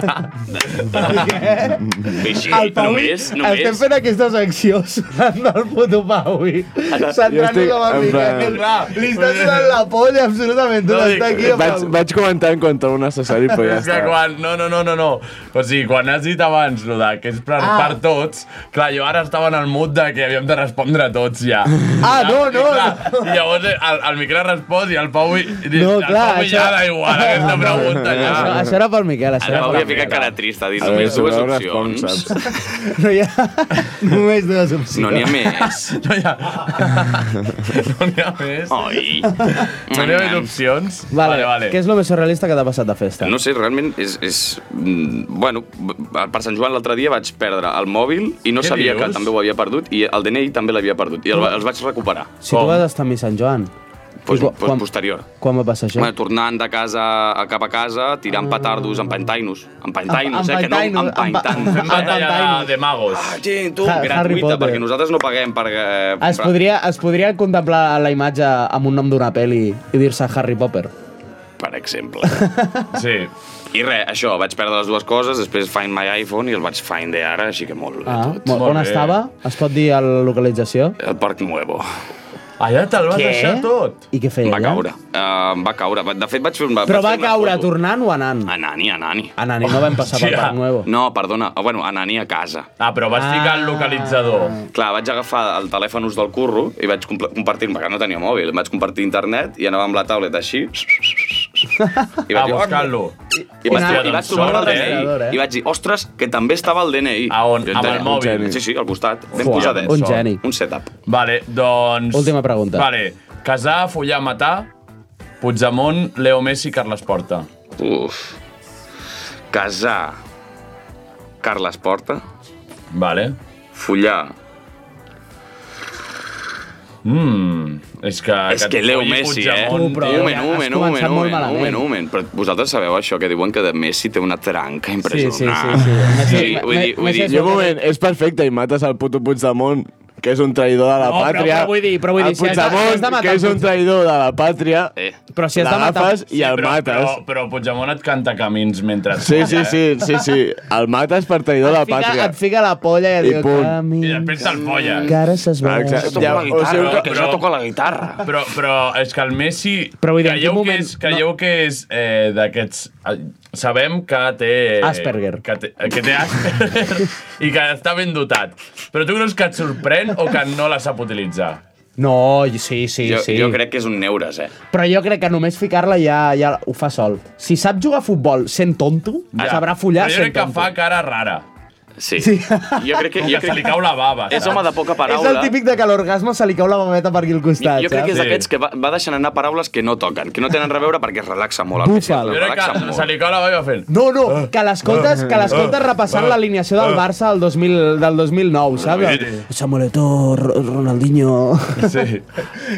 Així,
El Pau,
només,
Estem
només.
fent aquesta secció sonant del puto Paui.
Ara,
Centrant-hi
jo estic
com a
en
Miquel.
plan-
Li estàs donant la polla absolutament. Tu
No, dic-
estàs aquí amb
eh, Vaig,
el...
vaig comentar en contra un necessari, però ja
és que
està.
quan, no, no, no, no, no. O sigui, quan has dit abans lo de que és per, ah.
Ah.
per tots, clar, jo ara estava en el mood de que havíem de respondre tots ja.
Ah, no, no.
I llavors el, el Miquel ha respost i el Pau, i,
No,
el
clar,
Pau ja
això-
da igual aquesta pregunta.
Ah,
Ja.
Això, això era pel Miquel, això
Ara
era
m'hauria
pel
ficat
Miquel.
cara trista, dir
A veure,
només
si
dues
veus
opcions.
respon,
*laughs* No hi ha només dues opcions.
No n'hi ha més.
No hi ha... no n'hi ha més.
Oi.
No n'hi ha més opcions?
Vale,
vale. vale.
Què és el més surrealista que t'ha passat de festa?
No sé, realment és... és mm, bueno, b- per Sant Joan l'altre dia vaig perdre el mòbil i no
Què
sabia
dius?
que també ho havia perdut i el DNI també l'havia perdut i el, els vaig recuperar.
Si tu vas estar a mi Sant Joan.
Pues,
I quan-
pues,
quan-
posterior.
Quan va passar això?
Bueno, tornant de casa a cap a casa, tirant petardos, empentainos. Empentainos,
Em-
eh? Que no,
empentainos,
empentainos.
empa-
Batalla de- de magos.
Ah, gent, tu,
Ha- Harry
gratuïta,
Potter.
perquè nosaltres no paguem per... eh,
Es
per-
podria, es podria contemplar la imatge amb un nom d'una pel·li i dir-se Harry Potter.
Per exemple.
Sí.
*laughs* I res, això, vaig perdre les dues coses, després Find My iPhone i el vaig Find the ara, així que molt bé
Ah,
tot.
mo-
molt bé.
on estava? Es pot dir a la localització?
El Parc Nuevo.
Allà te'l vas
Què?
deixar tot.
I què feia
Va
allà?
caure. Uh, va caure. De fet, vaig fer un...
Però
vaig
va
fer una
caure
foto.
tornant o anant?
Anani, anani.
Anant, i no vam passar pel
Hòstia.
Parc Nuevo.
No, perdona. Oh, bueno, anani a casa.
Ah, però vas ficar el localitzador.
Clar, vaig agafar el telèfon ús del curro i vaig compl- compartir, perquè no tenia mòbil, em vaig compartir internet i anava amb la tablet així. I
A
vaig, dir,
buscar-lo.
i vaig,
Hòstia,
i vaig
Ah, doncs,
trobar el
sort, eh?
DNI. I vaig dir, ostres, que també estava el DNI.
A on?
Jo
Amb
tenia-
el mòbil?
Sí, sí, al costat. Ben
Fuà,
posadet.
un geni.
Un setup.
Vale, doncs...
Última pregunta.
Vale. Casar, follar, matar, Puigdemont, Leo Messi, Carles Porta.
Uf. Casar. Carles Porta.
Vale.
Follar.
Mm, és que...
És que
et
Leo
folli
Messi, eh?
Puigdemont,
Tu, però
un moment,
has
un moment, un moment,
començat molt
un moment, un
malament.
moment, un moment. Però vosaltres sabeu això que diuen que de Messi té una tranca
Sí, sí, sí.
impressionant.
sí. Messi-
sí, vull dir, vull
Messi
dir,
és
I un
molt-
moment, és perfecte, i mates el puto Puigdemont, que és un traïdor de la
No, però-
pàtria.
però vull dir- però vull dir,
el
si has de- si has de
Puigdemont,
matar
que és
el
un
Puig-
traïdor de la pàtria,
Eh.
Però si has de matar...
l'agafes i el
però,
mates.
Però, però Puigdemont et canta camins mentre et
Sí, sí,
folla,
sí, sí, sí. El mates per traïdor de la
Et fica,
pàtria.
et fica la polla i et
I
diu...
punt.
"Cami,
Eh? I després te'l folla.
que ara s'esbarà.
Exacte.
Toco
Ja,
la
o
guitarra, eh,
sigui
que
que-
jo toco la guitarra.
Però, però és que el Messi...
Però vull dir, en
creieu
quin moment-
Que és, creieu que és eh, d'aquests... eh, Sabem que té...
Asperger.
Que té, eh, que té Asperger i que està ben dotat. Però tu creus que et sorprèn o que no la sap utilitzar?
No, sí, sí,
Jo,
sí.
jo crec que és un neures, eh?
Però jo crec que només ficar-la ja, ja ho fa sol. Si sap jugar a futbol sent tonto, ja. sabrà follar
Però jo
sent
crec que
tonto.
fa cara rara.
Sí. sí. Jo crec que...
Com
Jo
que se li
crec
cau la bava.
és home de poca
És
paraula.
el típic de que a l'orgasme se li cau la mameta per aquí al
Jo,
costat,
jo crec que és
Sí.
d'aquests que va, va deixant anar paraules que no toquen, que no tenen a veure perquè es relaxa molt. el Messi, es
Búfal.
Jo crec
relaxa
que
molt.
se li cau la bava i va fent...
No, no, que l'escoltes que l'escoltes
Ah.
repassant l'alineació del Barça del, 2000, del 2009, saps? Samuelito, Ro- Ronaldinho...
Sí.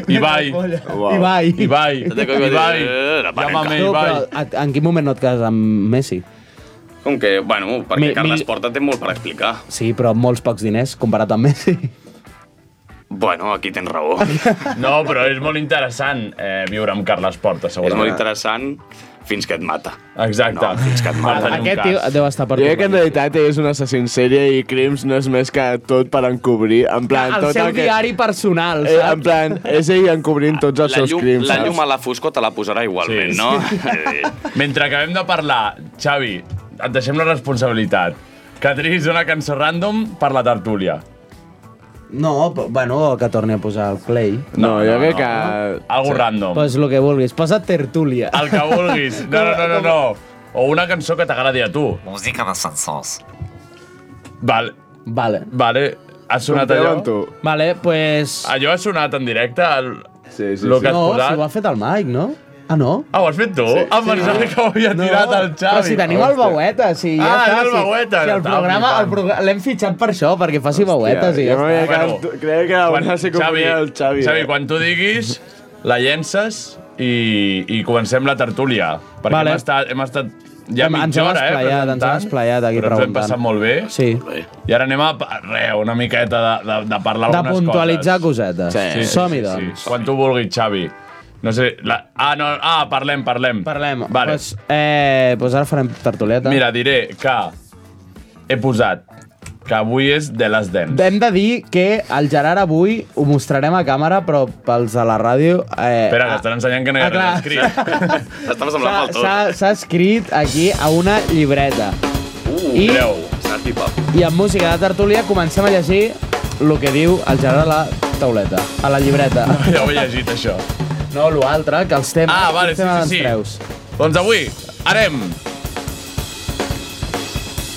Ibai.
Wow. Ibai.
Ibai.
Tot de cop va dir,
Ibai.
"Eh, la panenca".
Llámame
No,
Ibai.
però a- en quin moment no et cases amb Messi?
Com que, bueno, perquè
Mi-
Carles
mi-
Porta té molt per explicar.
Sí, però amb molts pocs diners comparat amb Messi.
Bueno, aquí tens
*laughs*
raó.
No, però és molt interessant eh, viure amb Carles Porta,
és molt
segurament.
interessant fins que et mata.
Exacte.
No, fins que et mata.
Falta- En un
Aquest
cas.
tio deu estar per
Jo crec que en realitat és un assassin en sèrie i Crims no és més que tot per encobrir, en plan,
El
tot
seu
el que...
diari personal,
Eh, en
saps?
plan, és ell encobrint tots els
La
seus
llum,
crims,
la llum a
saps?
la foscor te la posarà
Sí.
igualment,
*laughs*
sí. no? Eh,
Mentre acabem de parlar, Xavi, et deixem la responsabilitat. Que triguis una cançó random per la tertúlia.
No, però, bueno, que torni a posar el play.
No, jo crec que...
Algo random.
Pues lo que vulguis. Posa tertúlia.
El que
*laughs*
vulguis. No, no, no, no. no. O una cançó que t'agradi a tu.
Música d'ascensors.
Val,
Vale.
vale. Ha sonat
Confiem
allò?
en tu.
Vale, pues...
Allò ha sonat en directe? El...
Sí, sí,
Lo
sí.
que-
No,
Ah, posat?
si ho ha fet el Mike, no? Ah, no?
Ah, ho has fet tu? Sí, ah, em pensava que ho havia tirat el Xavi.
Però si tenim el Baueta, si ja
Ah,
està,
era el
si-
Baueta,
Si,
era
el
tan
programa, el programa l'hem fitxat per això, perquè faci Bauetes i ja
Ah,
està. Eh,
creia
Ah,
que
una psicofonia del Xavi, eh?
Xavi, quan tu diguis, la llences i, i comencem la tertúlia. Perquè
Vale.
hem estat, hem estat ja
Hem- ens
mitja
hem
hora, eh?
esplayat, ens hem
presentant,
esplayat aquí
però ens ho hem
preguntant.
passat molt bé.
Sí.
I ara anem a pa- re, una miqueta de, de, de parlar
De
algunes coses.
puntualitzar cosetes. Sí. Som-hi, doncs.
Quan tu vulguis, Xavi. No sé, la... ah, no, ah, parlem, parlem. Parlem. Vale.
Pues, eh, pues ara farem tertuleta.
Mira, diré que he posat que avui és de les dents.
Hem de dir que el Gerard avui ho mostrarem a càmera, però pels de la ràdio... Eh,
Espera, que estan ensenyant que no hi ha
ah, clar.
res escrit. Estan
s'ha- s'ha- S'ha escrit aquí a una llibreta. *laughs*
Uh,
I-
greu. Snarky Pop.
I amb música de tertúlia comencem a llegir el que diu el Gerard a la tauleta, a la
*laughs*
llibreta.
No, ja ho he llegit, això.
No, l'altre, que els temes...
Ah, vale,
els temes
sí, sí,
dels
sí.
Preus.
Doncs avui anem...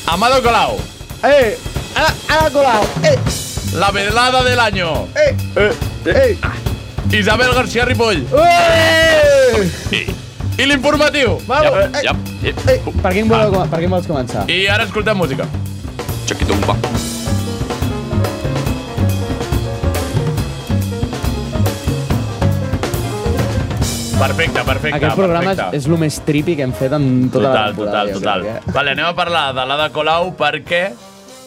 Amado Colau.
Eh! Ah, ah, Colau! Eh!
La velada del año.
Eh!
Eh! Eh! Isabel García Ripoll.
Eh!
I, i l'informatiu.
Vamos.
Ja, ja, ja.
Eh, per quin, vol, per quin vols començar?
Ah. I ara escoltem música.
Chiquitumba.
Perfecte, perfecte.
Aquest programa
perfecte.
és, és el més tripi que hem fet en tota la
Total,
temporada.
total,
jo
total.
crec, eh.
Vale, anem a parlar de l'Ada Colau perquè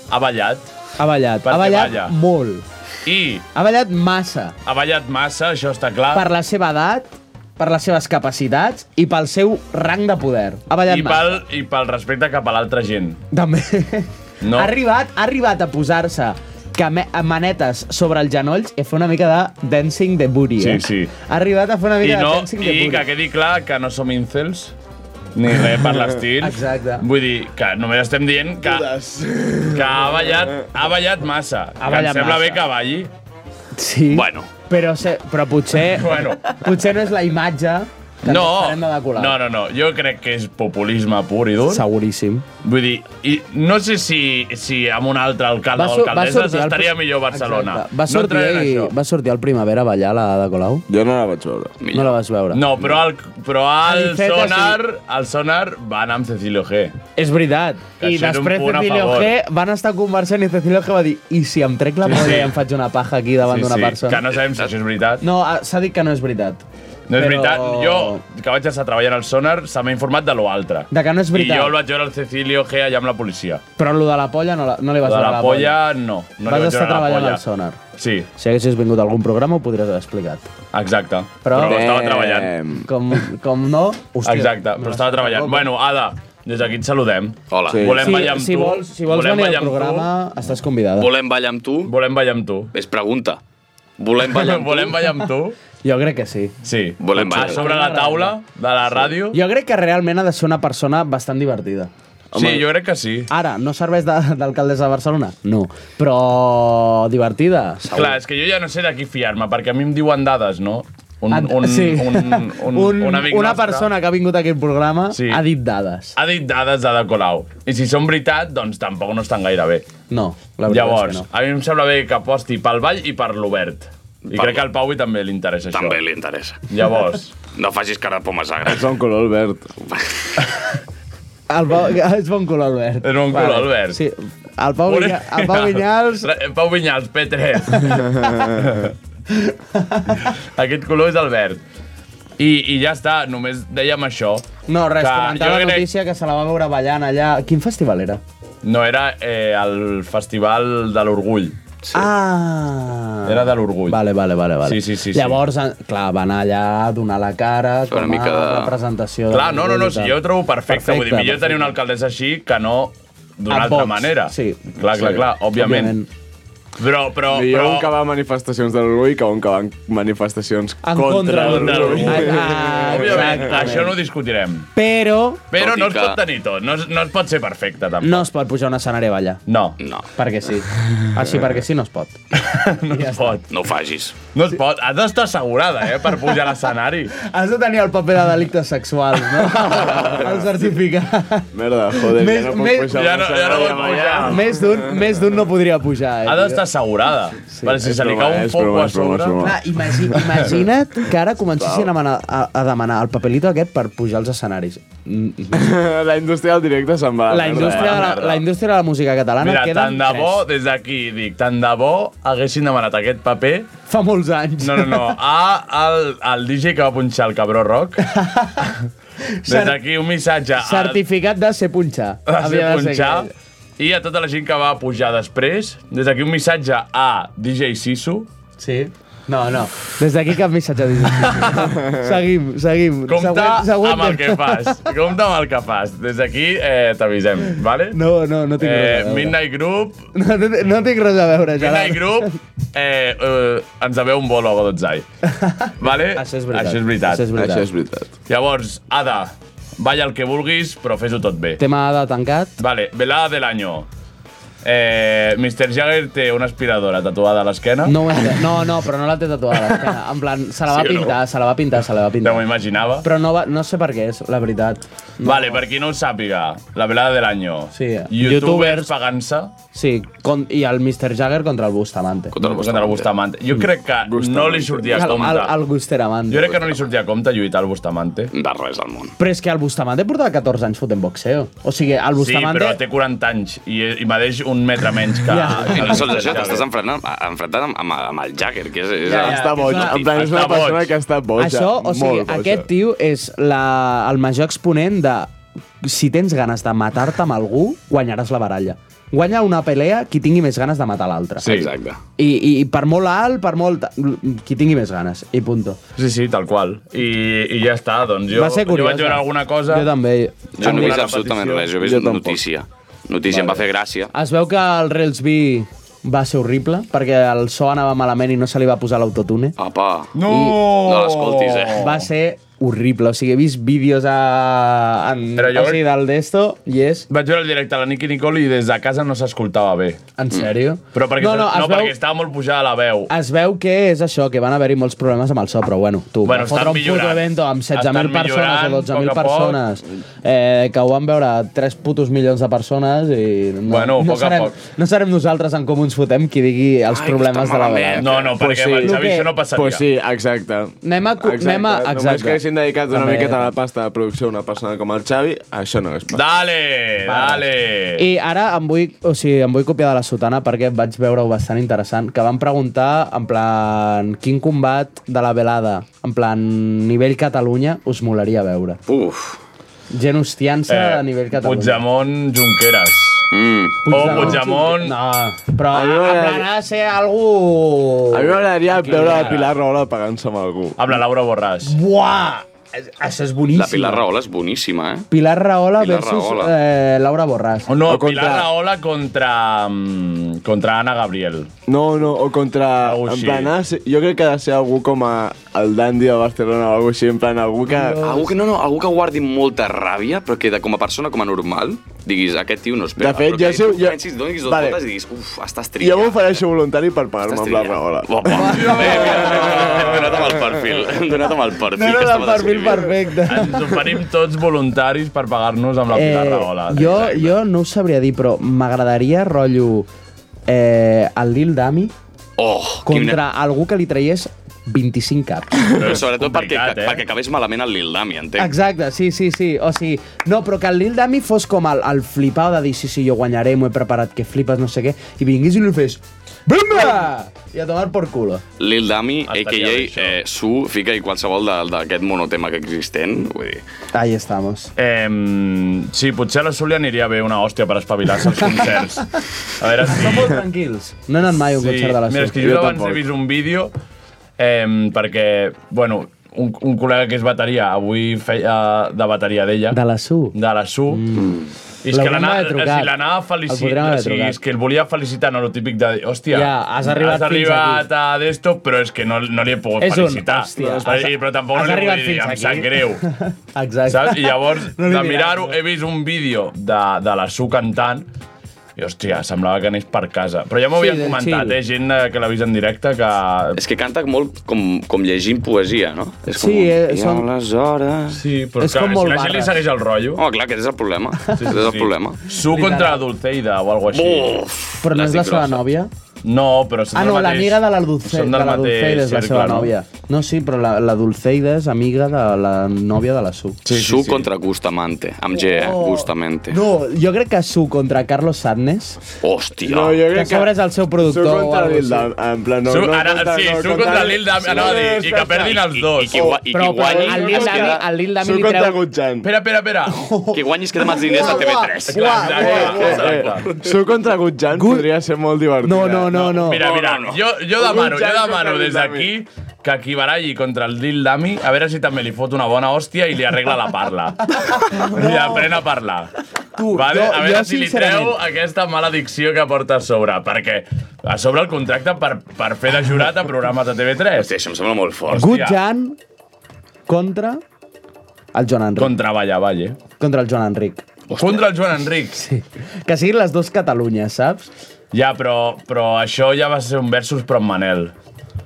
ha ballat.
eh? Ha ballat,
Perquè
ha ballat
balla.
molt.
I
Ha ballat massa.
ha ballat massa, això està clar.
Per la seva edat, per les seves capacitats i pel seu rang de poder. Ha ballat
I pel, I pel respecte cap a l'altra gent.
massa. També.
No?
Ha arribat, ha arribat a posar-se came- manetes sobre els genolls i a fer una mica de dancing de booty.
Sí,
Eh?
sí.
Ha arribat a fer una
I,
mica de
no,
dancing de
I
booty.
que quedi clar que no som incels, ni res per l'estil.
*laughs* Exacte.
Vull dir que només estem dient que, que ha, ballat, ha ballat massa.
Ha
que
ballat
em sembla
massa.
bé que
*laughs*
balli.
Sí.
Bueno.
Però, se, però potser,
*laughs* Bueno.
potser no és la imatge que ens
No,
farem de la Colau.
no, no, no, jo crec que és populisme pur i dur.
Seguríssim.
Vull dir, i no sé si, si amb un altre alcalde
Va
o
so- va
alcaldessa
sortir el-
estaria millor a Barcelona.
Exacte. Va sortir,
no entraré en
no
això.
va sortir al Primavera a ballar la Ada Colau?
Jo no la vaig veure.
No la vas veure?
No, però al, però al
Aliceta, sí.
sonar, al sonar va anar amb Cecilio G.
És veritat.
Que
I
això era un
després
punt a
Cecilio
favor.
G van estar conversant i Cecilio G va dir i si em trec la
Sí,
polla
sí.
i em faig una paja aquí davant d'una persona?
que no sabem si això és veritat.
No, ah, s'ha dit que no és veritat.
No és
Però-
veritat, jo, que vaig estar treballant al sonar, se m'ha informat de lo altre.
De que no és veritat.
I jo el vaig veure al Cecilio G allà amb la policia.
Però lo de la polla no, la, no li
De
vas donar
la polla, no. no li
vas
vaig
estar
veure la
treballant
polla.
al sonar.
Sí,
Si haguessis vingut a algun programa ho podries haver explicat.
exacte.
Però-
Però,
Eh,
estava
Damn.
treballant.
Com, com no... Hòstia,
Exacte, però estava treballant. Bueno, Ada, des d'aquí et saludem. Hola.
Sí.
Volem
Si-
ballar amb
si
tu.
vols- si vols
Volem
venir
ballar
al
amb tu.
programa, estàs convidada.
Volem ballar amb tu?
Volem ballar amb tu.
És pregunta. Volem
*laughs*
ballar amb tu?
*laughs* Volem ballar amb tu?
Jo crec que sí.
Sí.
Volem ballar.
A sobre la taula de la ràdio?
Jo crec que realment ha de ser una persona bastant divertida.
Sí, jo crec que sí.
Ara, no serveix de- d'alcaldessa de, Barcelona? No. Però divertida, segur.
Clar, és que jo ja no sé de qui fiar-me, perquè a mi em diuen dades, no? Un,
Et-
un,
Ah, sí. *laughs*
un, un, *laughs* un, un amic
una
nostre
persona que ha vingut a aquest programa
Sí. Ah.
ha dit dades.
ha dit dades de De Colau. I si són veritat, doncs tampoc no estan gaire bé.
No, la veritat
Llavors,
és que no.
a mi em sembla bé que aposti pel ball i per l'Obert. I
Pel-
crec que al Pau també li interessa això.
També li interessa.
*laughs*
Llavors.
No facis cara de pomes agres.
És un color verd.
El Pau, *laughs* és bon color, Albert.
Eh. És bon color, Albert.
Sí, el Pau, Vinya, el Pau
*laughs*
Vinyals...
Pau Vinyals,
*laughs*
P3. Aquest color és el verd. I, I ja està, només dèiem això.
No, res,
que jo
comentar la
crec-
notícia que se la va veure ballant allà... Quin festival era?
No, era eh, el Festival de l'Orgull.
Sí. Ah!
Era de l'Orgull.
Vale, vale, vale, vale.
Sí, sí, sí, sí.
Llavors, sí. clar, va anar allà a donar la cara
una
com a
mica de-
representació... de
Clar, no, no, no,
l'orgull i
si
tal.
jo ho trobo perfecte. perfecte Vull dir, millor tenir una alcaldessa així que no d'una
A
altra
Vox,
manera.
sí.
Clar, clar,
Sí.
clar, òbviament. Però, però,
Millor
però...
un que va a manifestacions de l'orgull que un que va a manifestacions
En
contra,
contra de
*laughs*
l'orgull.
l'orgull.
Ah,
Òbviament,
exactament.
això no ho discutirem.
Però
Però
Tot i
no es
que-
pot tenir tot, no es, no es pot ser perfecte, tampoc.
no es pot pujar a un escenari a ballar.
No,
No,
Perquè sí. Així perquè sí no es pot.
Mm.
*laughs* no es pot.
no ho facis.
No es pot. Has d'estar assegurada, eh, per pujar a l'escenari.
Has de tenir el paper de delictes sexuals, *laughs* no? el certificat.
Merda, joder, *laughs* ja
Més-
no puc
més-
pujar.
Ja no- ja no
a
puc
ballar.
pujar.
més d'un més d'un no podria pujar, eh?
Ha d'estar
tio.
assegurada. Sí, perquè si
és
se li
broma,
cau un
és
foc
broma,
a
és broma,
sobre...
és broma.
Clar, imagi imagina't que ara comencessin a, demanar, a, a demanar el papelito aquest per pujar als escenaris.
la indústria del directe se'n va. a
La indústria, de la, la indústria de la música catalana
Ah, Mira,
queda
tant de bo, des d'aquí dic, tant de bo haguessin demanat aquest paper
fa molts anys.
No, no,
*laughs*
no, a, al, al DJ que va punxar el cabró rock. Des d'aquí un missatge al, *laughs*
Certificat de ser punxar.
a ser
Havia de ser
punxar
aquell.
i a tota la gent que va pujar després. Des d'aquí un missatge a DJ Sisu.
Sí. No, no. Des d'aquí cap *laughs* missatge. seguim, seguim.
Compte amb el que fas. Compte amb el que fas. Des d'aquí eh, t'avisem, vale?
No, no, no tinc res a
Eh,
veure.
Midnight Group,
No, no, no tinc res a veure,
Midnight
Gerard.
Group, eh, eh, ens deveu un bolo a
*laughs*
Godotzai. Vale? Això és
veritat.
Això és veritat.
Això és veritat. Això és
veritat.
Llavors, Ada, balla el que vulguis, però fes-ho tot bé.
Tema de tancat.
Vale, velada del año. Eh, Mr. Jagger té una aspiradora tatuada a l'esquena.
No, ho he entès. no, no, però no la té tatuada. a l'esquena. En plan, se la va
Sí o no?
pintar, se la va pintar, se la va pintar.
Ja m'ho imaginava.
Però no, va, no sé per què és, la veritat.
Vale, per qui no ho sàpiga, la velada del año.
Sí,
Youtubers,
youtubers.
pagant-se.
Sí, con, i el Mr. Jagger contra el Bustamante.
Contra el Bustamante. Jo crec que no li sortia a
el,
compte.
el, el Bustamante.
Jo crec que no li sortia a compte lluitar al Bustamante.
De res al món.
Però és que el Bustamante portava 14 anys fotent boxeo. O sigui, el
Sí, però
Bustamante...
té 40 anys i, i medeix un metre menys que...
Ja.
I
que
no sols
el
això,
Jagger.
t'estàs enfrentant, enfrentant amb, amb, amb el Jagger, que és... és
Ja,
el-
està boig. En plan, és una
Està boig.
persona que està boja.
Això, o sigui,
molt boja.
aquest tio és la, el major exponent de si tens ganes de matar-te amb algú, guanyaràs la baralla. Guanya una pelea qui tingui més ganes de matar l'altre.
Sí. Exacte.
I, i, I per molt alt, per molt... qui tingui més ganes, i punto.
Sí, sí, tal qual. I, i ja està, doncs jo,
Va ser
jo
curiós. eh?
vaig veure alguna cosa...
Jo també.
Jo no he
Alguna
vist absolutament res,
repetició.
jo he vist notícia. Notícia, em va fer gràcia.
Es veu que el Rails B va ser horrible, perquè el so anava malament i no se li va posar l'autotune.
Apa.
No!
No l'escoltis, eh?
Va ser horrible, o sigui, he vist vídeos a... En,
Però jo-
o sigui, del d'esto, i és...
Vaig veure el directe a la Nicky Nicole i des de casa no s'escoltava bé.
En sèrio?
Mm. Però perquè,
No,
no,
no,
no,
es
no
veu- Ah,
perquè estava molt pujada la veu.
Es veu que és això, que van haver-hi molts problemes amb el so, però bueno, tu,
Bueno,
bueno, fotre
estan
un puto
millorant.
evento amb
Estan
16.000 persones o
millorant, poc
12.000
a poc.
persones, eh, que ho van veure 3 putos milions de persones i no,
Bueno,
no,
poc a
serem,
poc.
no serem nosaltres en com ens fotem qui digui els Ai, problemes de la vegada.
No, no, perquè amb el Xavi
Lo que-
això no passaria.
Pues sí, exacte.
Anem a...
Exacte.
Anem a
Només que haguessin dedicat una
També.
miqueta a la pasta de producció a una persona com el Xavi, això no és pas.
Dale, dale.
I ara em vull, o sigui, em vull copiar de la sotana perquè vaig veure-ho bastant interessant, que van preguntar, en plan, quin combat de la velada, en plan, nivell Catalunya, us molaria veure.
Uf.
Gent hostiant-se eh, a nivell Catalunya.
Puigdemont Junqueras.
Mm.
O Puigdemont...
No, però a,
A mi
a,
m'agradaria-
plan, ha de ser algú...
A mi m'agradaria veure la Pilar Rahola pagant-se amb algú.
Amb la Laura Borràs.
Buah! Això és boníssim.
La Pilar Rahola és boníssima, eh?
Pilar Rahola
Pilar
versus
Rahola.
Eh, Laura Borràs.
O no,
O contra-
Pilar Rahola contra... mm, contra Anna Gabriel.
No, no, o contra...
Algú
en
així.
plan, ha de ser- jo crec que ha de ser algú com a el Dandy de Barcelona o alguna així, en plan, algú que...
Algú que, no, no, algú que guardi molta ràbia, però que de, com a persona, com a normal, diguis, aquest tio no es
De
pega.
fet,
però
jo...
que
sé-
tu
jo-
Pensis, donis dos
Vale.
vale. i diguis, uf, estàs
Jo
trillat.
m'ofereixo voluntari per pagar-me
Estàs
amb la
trillat.
Rahola. *laughs*
Uau, uau. Bé, mira, Hem donat amb el perfil. *laughs* Hem donat amb el perfil.
No,
que
no,
estava
el perfil
descrivint.
*laughs* perfecte.
Ens oferim tots voluntaris per pagar-nos amb la Pilar Rahola.
Eh, jo, jo no ho sabria dir, però m'agradaria, rotllo, eh, el Lil Dami
Oh,
contra algú que li traiés 25 caps.
quina... Però sobretot perquè,
Complicat,
eh?
eh?
perquè acabés malament el Lil Dami, entenc.
Exacte, sí, sí, sí. O sigui, no, però que el Lil Dami fos com el, el flipau de dir sí, sí, jo guanyaré, m'ho he preparat, que flipes, no sé què, i vinguis i li fes BUMBA! I a tomar por culo.
Lil Dami,
Estaria
a.k.a.
bé, això.
Eh, Su, fica i qualsevol de- d'aquest monotema que existent. Vull dir,
Ahí estamos.
Eh, sí, potser a la Súlia aniria bé una hòstia per espavilar-se als concerts. A veure si...
Som molt tranquils. No he anat mai a un concert de la
Mira, és que
Sur.
jo,
Jo
abans he
tampoc.
vist un vídeo eh, perquè, bueno, un, un col·lega que és bateria, avui feia de bateria d'ella,
De la Su.
de la SU, mm. i és que
L'hauríem
l'anava
d'haver trucat.
si l'anava
El
felicitant,
podríem haver
o sigui,
trucat.
és que el volia felicitar, no el típic de dir, hòstia,
Ja, has arribat
has
fins
arribat a d'esto, però és que no, no li he pogut
És un,
felicitar.
hòstia, has-
però, però tampoc no
has
li
arribat
vull dir,
fins
em
aquí.
sap greu.
*laughs* Exacte.
Saps? I llavors,
No
no
li
de
diràs,
mirar-ho, eh,
no.
he vist un vídeo de, de la Su cantant i, hòstia, semblava que anés per casa. Però ja m'ho
Sí,
havien
del
comentat,
chill.
eh? Gent eh, que l'ha vist en directe que...
és que canta molt com, com llegint poesia, no? És com,
Sí, eh,
I
són-
aleshores...
Sí, però
És
clar,
com molt
si la gent li
barres.
segueix el rotllo...
Home, clar, aquest Oh, és el problema. Sí, sí, és el problema.
Su contra la Dulceida o alguna cosa així.
Uf,
Però no és la seva
grossa.
nòvia?
No, però són
Ah,
del
no,
mateix...
l'amiga de la Dulce, de
Són del
la
mateix
Dulceida és la seva
cercle, no?
nòvia. No, sí, però la, la Dulceida és amiga de la nòvia de la Su.
Sí, sí, Su contra Gustamante, amb G, eh?
Oh.
Gustamente.
No, jo crec que Su contra Carlos Sadness.
Hòstia.
No, jo crec Que a sobre que- és el seu productor Su contra o algo Lil així. Dam,
en plan,
no, Su- no ara- contra- sí, no, Su contra contra- Lil Dam, anava a dir, i que perdin els dos.
I, i, qui gua- i,
Però-
qui guanyi...
però el Lil Dami- el Lil Dami Su li contra treu- Espera, espera,
*laughs*
espera.
Qui guanyi es queda amb els diners de TV3.
Uah, uah, uah, uah.
Su contra Gutjan podria ser molt divertit. No, no,
no, no.
Mira, mira, jo, jo
Un
demano, jo
Jack
demano
contra
des
Lil
d'aquí que qui baralli contra el Lil Dami, a veure si també li fot una bona hòstia i li arregla la parla.
*laughs*
Li aprèn a parlar. Tu, vale?
jo-
a veure
jo
si li
sincerament-
treu aquesta mala dicció que porta a sobre, perquè a sobre el contracte per, per fer de jurat a programes de TV3. Hòstia,
això em sembla molt fort.
Good Jan contra el Joan Enric.
Contra Valla Valle.
Contra el Joan Enric.
Contra el Joan Enric. Sí.
Que siguin les dues Catalunyes, saps?
Ja, però, però això ja va ser un versus però amb Manel.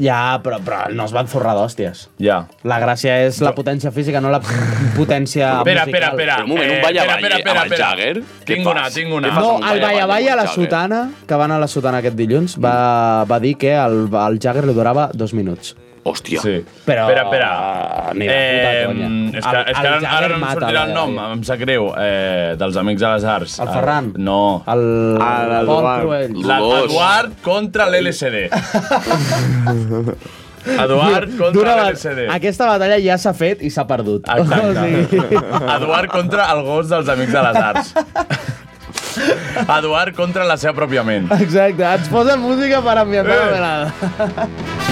Ja, però, però no es van forrar d'hòsties.
Ja.
La gràcia és la potència física, no la potència
Espera,
musical.
espera, espera.
Però un moment, un balla balla amb el Jagger? Què
Tinc una,
fas?
tinc una.
No, el Balla Balla a la Sotana, que van a la Sotana aquest dilluns, va, va dir que el, el Jagger li durava dos minuts.
Hòstia. Ah,
Sí. Eh.
Però-
espera, espera.
ni de puta conya.
és que,
El-
és que
el
ara, ara
Jagger
no em
mata
sortirà
la
el nom, em sap greu, eh, dels Amics de les Arts.
El Ferran?
Ah, no.
El,
el
Pol Eduard. Cruells. Dolors.
L'Eduard contra
*laughs*
l'LSD. Eduard
Dura-
contra
ba-
l'LSD.
Aquesta batalla ja s'ha fet i s'ha perdut.
Exacte. Eduard contra el gos dels Amics de les Arts. Eduard contra la seva pròpia ment.
Exacte, ens posen música per
Eh.
ambientar la velada.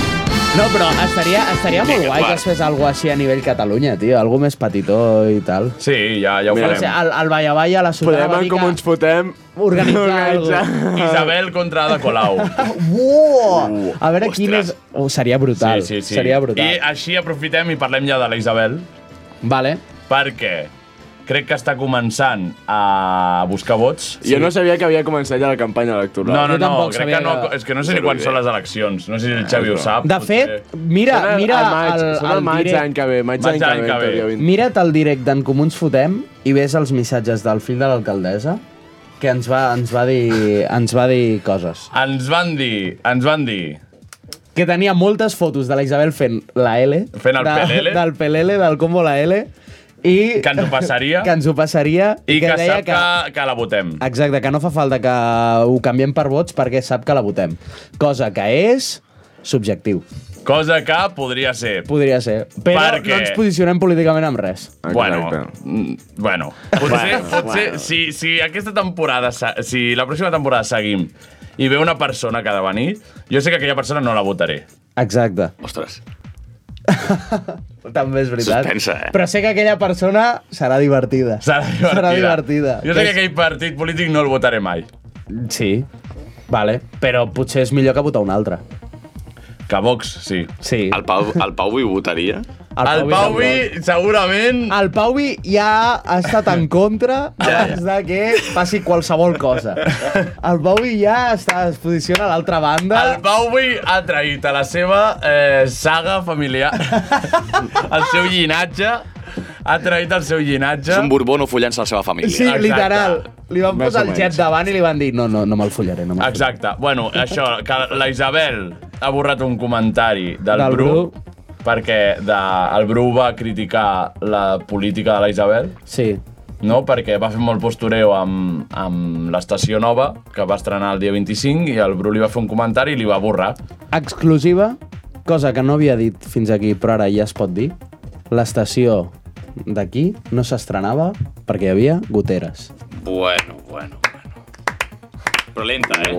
No, però estaria, estaria molt guai que es fes alguna així a nivell Catalunya, tio. Algú més petitó i tal.
Sí, ja, ja ho
Mira, o sigui,
farem.
el, el Balla Balla a la Sotana
Podem
va
en
dir
com
que...
ens fotem...
Organitzar
Isabel contra Ada Colau.
Uah! A veure quin és... Oh, seria brutal.
Sí, sí.
Seria brutal.
I així aprofitem i parlem ja de la Isabel.
Vale.
Perquè crec que està començant a buscar vots.
Jo no sabia que havia començat ja la campanya electoral.
No, no, no, crec que no, és que no sé ni
Zero
quan són
idea.
les eleccions, no sé si el Xavi ho sap.
De
potser.
fet, mira,
Són el-
mira
el maig,
el,
són el maig any que ve, maig Maig any que any ve, que ve. teoria vint.
Mira't el directe d'en Comú ens fotem i ves els missatges del fill de l'alcaldessa que ens va, ens va, dir, ens va dir coses.
Ens van dir, ens van dir,
Que tenia moltes fotos de la Isabel fent la L.
Fent el
de,
pelele.
Del pelele, del combo la L. I
que ens ho passaria
*laughs* que ens ho passaria
i que, sap que, que la votem.
Exacte, que no fa falta que ho canviem per vots perquè sap que la votem. Cosa que és subjectiu.
Cosa que podria ser.
Podria ser. Però
Perquè-
no ens posicionem políticament amb res.
Bueno, mm,
*laughs*
bueno, potser,
Ah, Bueno,
potser
bueno.
Si, si aquesta temporada, se- si la pròxima temporada seguim i ve una persona que ha de venir, jo sé que aquella persona no la votaré.
Exacte.
Ostres.
També és veritat.
Suspensa, eh?
Però sé que aquella persona serà divertida.
Serà divertida.
Serà divertida.
Jo sé que aquell partit polític no el votaré mai.
Sí, vale. Però potser és millor que votar un altre.
Que Vox, sí.
Sí.
El Pau, el Pau hi votaria?
El Pauvi, segurament...
El Pauvi ja ha estat en contra abans de que passi qualsevol cosa. El Pauvi ja està, es posiciona a l'altra banda.
El Bowie ha traït a la seva eh, saga
*laughs*
familiar, el seu llinatge, ha traït el seu llinatge.
És un borbono follant-se a la seva família.
Sí, literal. Li van
Més
posar
o
el
menys.
xep davant i li van dir no, no, no me'l follaré. No me'l follaré.
Exacte. Bueno, això, que la Isabel ha borrat un comentari del,
Del
Bru, perquè de, el Bru va criticar la política de la Isabel.
Sí.
No? Perquè va fer molt postureo amb, amb l'estació nova, que va estrenar el dia 25, i el Bru li va fer un comentari i li va borrar.
Exclusiva, cosa que no havia dit fins aquí, però ara ja es pot dir. L'estació d'aquí no s'estrenava perquè hi havia goteres.
Bueno, bueno, bueno. Però lenta, eh?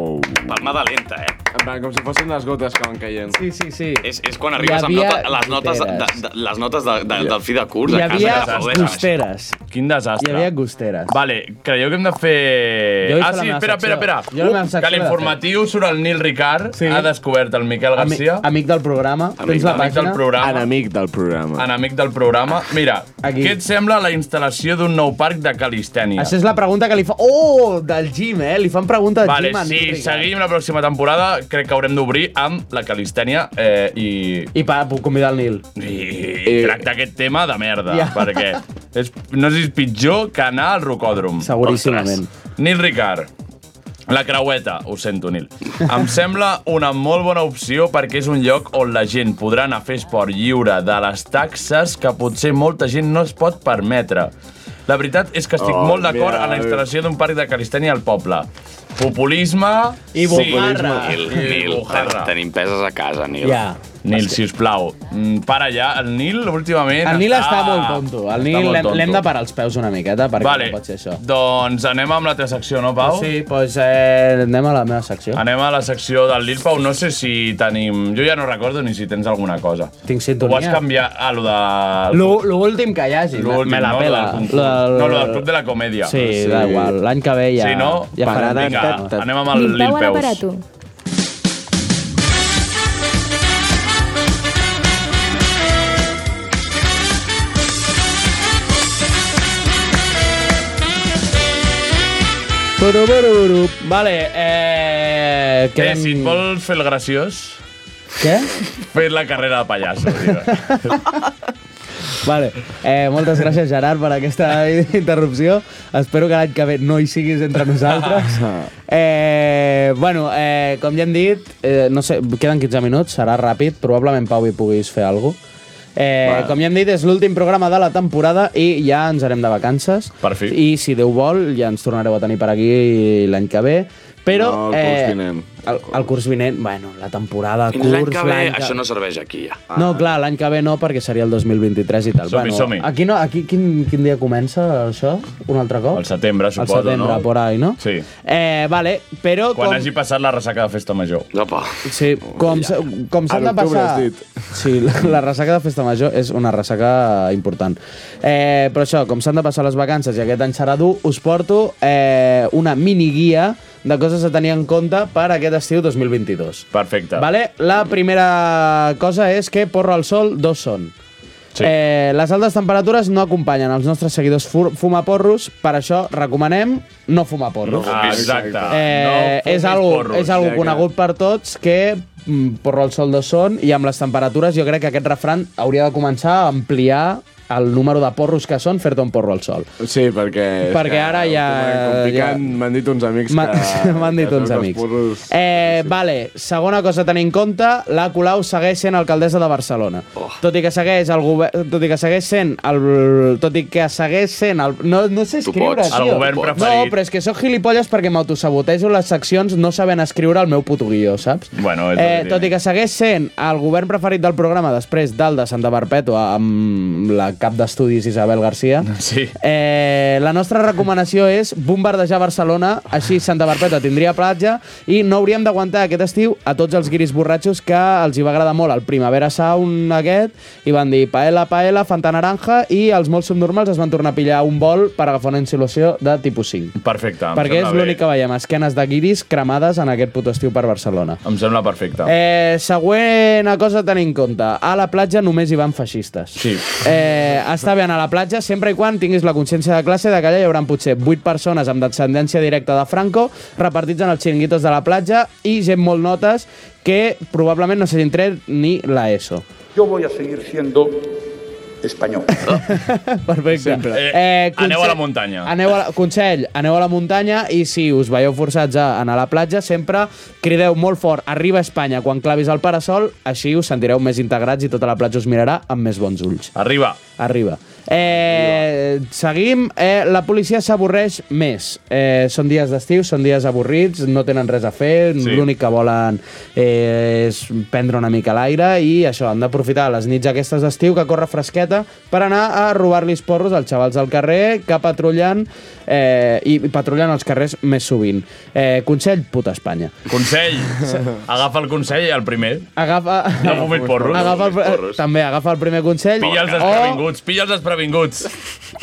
Palmada lenta, eh?
En plan, com si fossin les gotes que van caient.
Sí, sí, sí.
És, és quan arribes amb
havia
nota, les notes, de,
goteres.
de, les notes de, de, del fi de curs
Hi
eh? a casa.
havia
que t'ho deixes.
gosteres.
Quin desastre.
Hi havia gosteres.
Vale, creieu que hem de
Jo
fer...
he
Ah,
fet la
sí,
meva
espera,
secció.
espera, espera.
Jo la meva
Uh,
secció
que
l'he de
l'informatiu sobre el Nil Ricard sí. ha descobert el Miquel
Ami-
Garcia.
amic del programa. Tens la
Enemic del
pàgina?
programa.
Enemic del programa.
Enemic del programa. Mira, Aquí. què et sembla la instal·lació d'un nou parc de calistènia?
Això és la pregunta que li fa... Oh, del gym, eh? Li fan pregunta de
Vale,
gym a
si
Enric. eh?
seguim la pròxima temporada, crec que haurem d'obrir amb la calistènia eh, i...
I pa, puc convidar el Nil.
I,
Eh.
i tractar aquest tema de merda,
Ja.
perquè és, no sé si és pitjor que anar al rocòdrom.
Seguríssimament.
Ostres. Nil Ricard, La creueta, ho sento, Nil. Em sembla una molt bona opció perquè és un lloc on la gent podrà anar a fer esport lliure de les taxes que potser molta gent no es pot permetre. La veritat és que estic
Oh,
molt d'acord
mira,
eh.
en la instal·lació d'un parc de calistènia al poble. Populisme...
I
bufarra.
Nil, Nil, ten- tenim peses a casa, Nil.
Ja. Nil, si us plau, para ja. El Nil, últimament...
El Nil està molt tonto. El
Ah. està
Nil
molt
l'hem-
tonto.
l'hem de parar els peus una miqueta, perquè
Vale.
no pot ser això.
Doncs anem amb la teva secció, no, Pau?
Sí, doncs eh, anem a la meva secció.
Anem a la secció del Lil Pau. No sé si tenim... Jo ja no recordo ni si tens alguna cosa.
Tinc
Ho
sintonia.
vas canviar a lo de...
Lo- lo últim que hi hagi.
L'últim,
me la
no?
pela.
Lo del concurs.
Lo del-
No, lo del Club de la Comèdia.
Sí,
Sí.
da igual. L'any que ve ja...
Sí, no?
Ja farà.
Vinga, anem amb el Lil
Lil Pau a
Peus. Eh,
l'aparato.
Turururu. Vale, eh...
Què, si et vols fer el graciós,
Què?
fes la carrera de pallasso,
*laughs*
tio.
Vale. Eh, moltes gràcies, Gerard, per aquesta interrupció. Espero que l'any que ve no hi siguis entre nosaltres.
Ah.
Eh, bueno, eh, com ja hem dit, eh, no sé, queden 15 minuts, serà ràpid. Probablement, Pau, hi puguis fer alguna cosa. Eh,
Va.
Com ja hem dit, és l'últim programa de la temporada i ja ens anem de vacances. Per fi. I, si Déu vol, ja ens tornareu a tenir per aquí l'any que ve. Però, eh,
No, el curs vinent.
El, el curs vinent, bueno, la temporada,
Fins l'any
curs,
que ve,
l'any que...
això no serveix aquí, ja.
Ah. No, clar, l'any que ve no, perquè seria el 2023 i tal.
Som-hi, som-hi.
Aquí, no, aquí quin, quin dia comença això? Un altre cop?
Al setembre, suposo,
Al setembre,
no?
por ahí, no?
Sí.
Eh, vale, però
Quan
com...
hagi passat la ressaca de festa major.
Opa.
Sí, com, s- com s'han
A
de
l'octubre,
passar...
has dit.
Sí, la, la ressaca de Festa Major és una ressaca important. Eh, però això, com s'han de passar les vacances i aquest any serà dur, us porto eh, una miniguia de coses a tenir en compte per aquest estiu 2022.
Perfecte.
Vale? La primera cosa és que porro al sol, dos són. Sí. Eh, les altes temperatures no acompanyen els nostres seguidors fu- fumaporros, per això recomanem no fumar porros.
No fumis. Exacte.
Eh,
No
és
fumis
algo,
porros.
és algo
Ja,
conegut per tots que mm, porro al sol de son i amb les temperatures jo crec que aquest refran hauria de començar a ampliar el número de porros que són fer-te un porro al sol.
Sí, perquè... és
Perquè
que
ara
el
ja-
tema complicat, M'han dit uns amics
M'ha-
que...
*laughs* M'han dit
que
uns
els
amics.
porros-
Eh, Vale, segona cosa a tenir en compte, la Colau segueix sent alcaldessa de Barcelona.
Oh.
Tot i que segueix el govern, tot i que segueix sent el tot i que segueix sent el no no sé
Tu
escriure,
pots.
tio.
El govern
No,
preferit.
però és que sóc gilipolles perquè m'autosabotejo les seccions no sabent escriure el meu puto guió, saps?
Bueno,
Eh, tot i que segueix sent el govern preferit del programa després del de Santa Perpètua amb la cap d'estudis Isabel Garcia,
*laughs* sí.
eh, la nostra recomanació és bombardejar Barcelona, així Santa Perpètua tindria platja i no hauríem d'aguantar aquest estiu a tots els guiris borratxos que els hi va agradar molt el Primavera Sound aquest i van dir paella, paella, fanta naranja i els molt subnormals es van tornar a pillar un vol per agafar una insolació de tipus 5.
Perfecte. em
Perquè és
sembla bé.
l'únic que veiem, esquenes de guiris cremades en aquest puto estiu per Barcelona.
Em sembla perfecte.
Eh, següent cosa a tenir en compte. A la platja només hi van feixistes.
Sí.
Eh, està bé anar a la platja sempre i quan tinguis la consciència de classe de que allà hi haurà potser 8 persones amb descendència directa de Franco repartits en els xiringuitos de la platja i gent molt notes que probablement no s'hagin tret ni la ESO.
Yo voy a seguir siendo español.
*laughs* Perfecte.
Eh, aneu a la muntanya.
Aneu a la, consell, aneu a la muntanya i si us veieu forçats a anar a la platja, sempre crideu molt fort «Arriba Espanya» quan clavis el parasol, així us sentireu més integrats i tota la platja us mirarà amb més bons ulls.
Arriba.
Arriba. Eh, seguim. Eh, la policia s'avorreix més. Eh, són dies d'estiu, són dies avorrits, no tenen res a fer,
Sí.
sí. l'únic que volen eh, és prendre una mica l'aire i això, han d'aprofitar les nits aquestes d'estiu que corre fresqueta per anar a robar-li els porros als xavals del carrer que patrullen eh, i patrullen els carrers més sovint. Eh, consell, puta Espanya.
Consell. Agafa el consell, el primer.
Agafa...
No fumis porros.
Agafa el, eh, també agafa el primer consell
Pilla els
o,
desprevinguts, pilla els desprevinguts.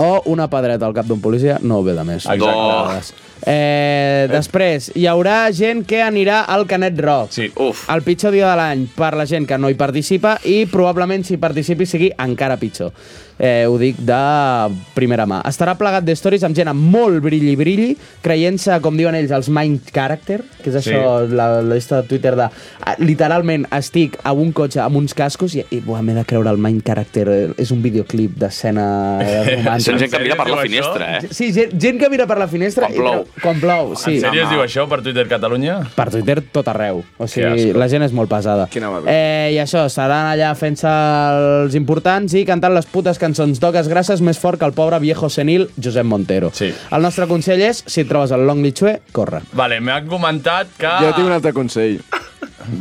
o una pedreta al cap d'un policia no ve de més.
Exacte.
Doncs. Eh, després, hi haurà gent que anirà al Canet Rock.
Sí.
Uf. El pitjor dia de l'any per la gent que no hi participa i probablement si participi sigui encara pitjor. Eh, ho dic de primera mà. Estarà plegat de stories amb gent amb molt brilli-brilli, creient-se, com diuen ells, els main character, que és
Sí.
això, la, la llista de Twitter de... ah, Literalment estic a un cotxe amb uns cascos i, i buah, m'he de creure el main character. eh, És un
*laughs*
videoclip d'escena romàntica.
Són gent que mira per la finestra, eh?
Sí, gent, gent que mira per la finestra
Quan plou.
i, Quan plou, sí.
En sèrio es diu això per Twitter Catalunya?
Per Twitter tot arreu. O
Que
sigui,
asco.
la gent és molt pesada. Eh, I això, estaran allà fent-se els importants i cantant les putes cançons d'oques grasses més fort que el pobre viejo senil Josep Montero. Sí. El nostre consell és, si et trobes el Long Li Chue, corre.
Vale, m'han comentat que...
Jo tinc un altre consell.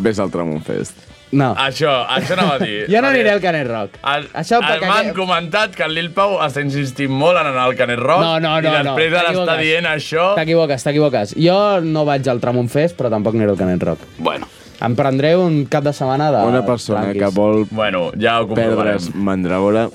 Ves al Tramonfest.
No.
*laughs* Això, això anava a dir.
Jo no aniré Ah, al Canet Rock.
El,
Això perquè
m'han comentat que el Lil Pau està insistint molt en anar al Canet Rock
No, no, no,
i després
no,
ara està
t'equivoques.
dient això...
T'equivoques, t'equivoques. Jo no vaig al Tramon Fest, però tampoc aniré al Canet Rock.
eh? Bueno.
Em prendré un cap de setmana de...
Una persona
tranquis.
que vol
bueno, ja ho
perdre's Mandragora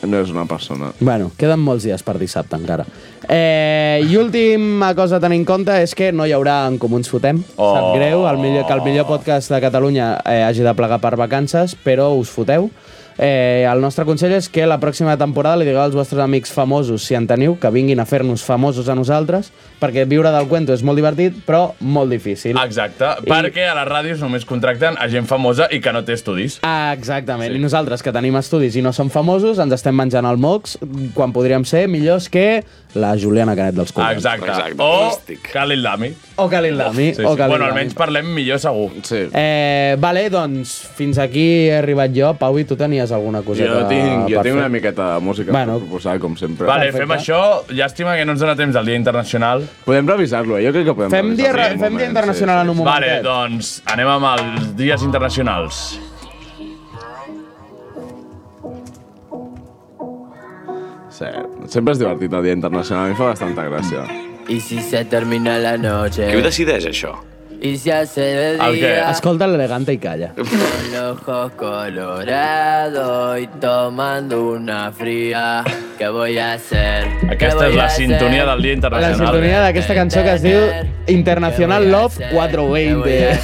no és una persona.
Bueno, queden molts dies per dissabte encara. Eh, I última cosa a tenir en compte és que no hi haurà en Comú ens fotem. Oh. Sap greu el millor, que el millor podcast de Catalunya eh, hagi de plegar per vacances, però us foteu. Eh, el nostre consell és que la pròxima temporada li digueu als vostres amics famosos, si en teniu, que vinguin a fer-nos famosos a nosaltres, perquè viure del cuento és molt divertit, però molt difícil.
Exacte, perquè a les ràdios només contracten a gent famosa i que no té estudis.
Exactament, sí. i nosaltres que tenim estudis i no som famosos ens estem menjant el mocs quan podríem ser millors que la Juliana Canet dels Collons.
Exacte. O Khalil Lami.
O Khalil Lami, o Khalil
bueno,
Lami.
almenys parlem millor segur.
Sí.
Eh, vale, doncs fins aquí he arribat jo. Pau, i tu tenies alguna coseta
Jo tinc, jo
per
tinc
fer?
una miqueta de música bueno. per proposar, com sempre.
Vale, fem això. Llàstima que no ens dona temps al Dia Internacional.
Podem revisar-lo, eh? jo crec que podem
Fem dia,
Sí, un
fem
moment,
dia internacional en un moment.
Vale, doncs anem amb els dies internacionals.
Sí. Sempre és divertit el dia internacional, a mi em fa bastanta gràcia.
I si se termina la noche.
Qui ho decideix, això?
Y se hace de
Ah,
día.
Escolta l'elegante i calla.
Con ojos colorados y tomando una fría. ¿Qué voy a hacer? ¿Qué
Aquesta
voy
és la
eh?
a hacer?
sintonia del Dia
La
Internacional.
sintonia d'aquesta cançó que es diu International Love 420.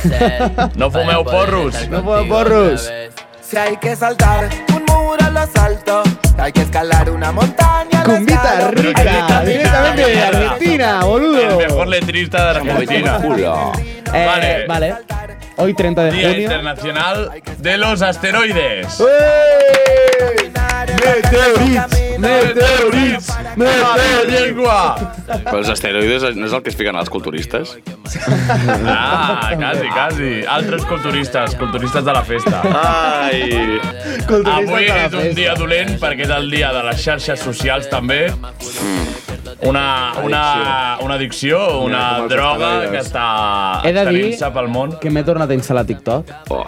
No fumeu porros.
No fumeu porros.
Si hay que saltar un muro lo salto, hay que escalar una montaña.
Cumbita rica, directamente de Argentina,
El
boludo.
mejor letrista de Argentina.
Eh,
Vale.
vale. Hoy 30 de
Día
junio.
Internacional de los Asteroides.
Eh, Meteorits!
Meteorits!
Però els asteroides no és el que es fiquen als culturistes?
Ah, quasi, quasi. Altres culturistes, culturistes de la festa.
Ai.
Culturistes Avui és un dia dolent perquè és el dia de les xarxes socials també. Una, una, una addicció, una
com els
droga que
asteroides.
està
He de dir
extenint-se pel món.
que m'he tornat a instal·lar TikTok.
Oh.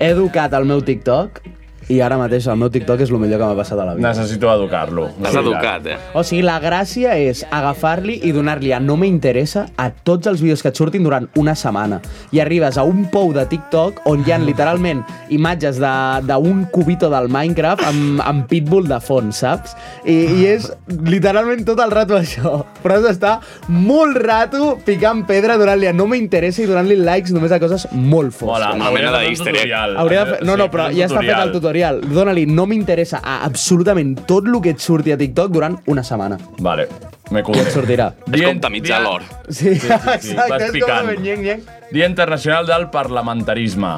He educat el meu TikTok i ara mateix el meu TikTok és el millor que m'ha passat a la vida.
Necessito educar-lo.
L'has
Sí,
educat, eh?
O sigui, la gràcia és agafar-li i donar-li a no m'interessa a tots els vídeos que et surtin durant una setmana. I arribes a un pou de TikTok on hi ha literalment imatges de- d'un cubito del Minecraft amb, amb pitbull de fons, saps? I, I és literalment tot el rato això. Però has d'estar molt rato picant pedra, donant-li a no m'interessa i donant-li likes només a coses molt fosques.
Una mena d'easter egg.
Hauria de fer... No, no, però ja està fet el tutorial. Dóna-li, no m'interessa a absolutament tot el que et surti a TikTok durant una setmana.
Vale, me
I et sortirà.
És com tamitzar l'or.
Sí, *laughs* sí,
sí, vas picant. Dia Internacional del Parlamentarisme.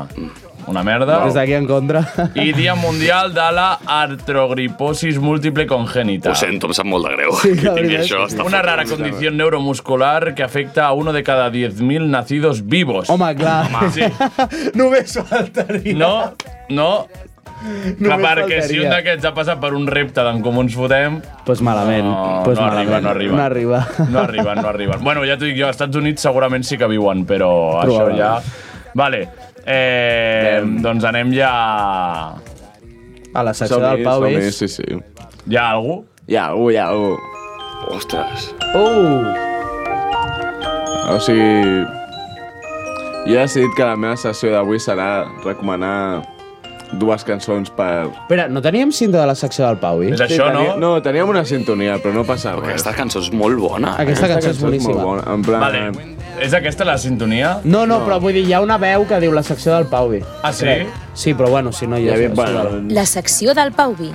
Una merda.
Des d'aquí en contra.
I Dia Mundial de la Artrogriposis Múltiple Congènita.
Ho sento, em sap molt de greu
Sí,
que *laughs*
la
tingui
veritat.
això. Està
Una
fotut.
rara condición neuromuscular que afecta a uno de cada 10.000 nacidos vivos.
Home, clar.
Home, sí.
*laughs* Només faltaria.
No, no. Clar,
Només
perquè si un
faltaria.
d'aquests ha passat per un repte d'en Comú ens fotem...
Pues malament.
No,
pues
no
malament.
arriba, no arriba.
No arriba.
No arriben, no arriben. Bueno, ja t'ho dic jo, als Estats Units segurament sí que viuen, però això
Probablement.
ja... Vale, eh, doncs anem ja...
*laughs* A la secció del Pau
som-hi,
és...
sí, sí.
Hi ha algú?
Hi ha algú, hi ha algú.
Ostres.
Uh!
O sigui... Jo he decidit que la meva sessió d'avui serà recomanar dues cançons per...
Espera, no teníem cinta de la secció del Pau, eh?
teníem, no? No, teníem una sintonia, però no passa res. Aquesta
cançó és molt bona.
Aquesta cançó és boníssima.
Molt bona, en plan...
Vale. És aquesta la sintonia?
No, no, però vull dir, hi ha una veu que diu la secció del Pau. eh?
Ah, sí?
Sí, però bueno, si no... Ja,
Ja ve-
és-
bueno,
La secció del Pau Vi.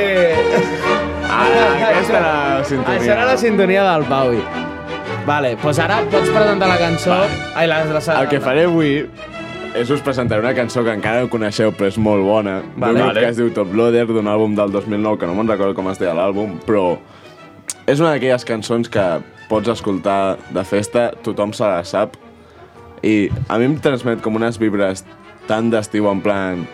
Eh!
Ara, aquesta era la sintonia.
Ah, Això era la sintonia del Paui. Vale, doncs ara pots presentar la cançó... Ai, la, la, la,
El que faré avui és us presentaré una cançó que encara no coneixeu, però és molt bona. D'un
Vale.
grup que es diu Top Loader, d'un àlbum del 2009, que no me'n recordo com es deia l'àlbum, però
És una d'aquelles cançons que pots escoltar de festa, tothom se la sap, i a mi em transmet com unes vibres tan d'estiu, en plan,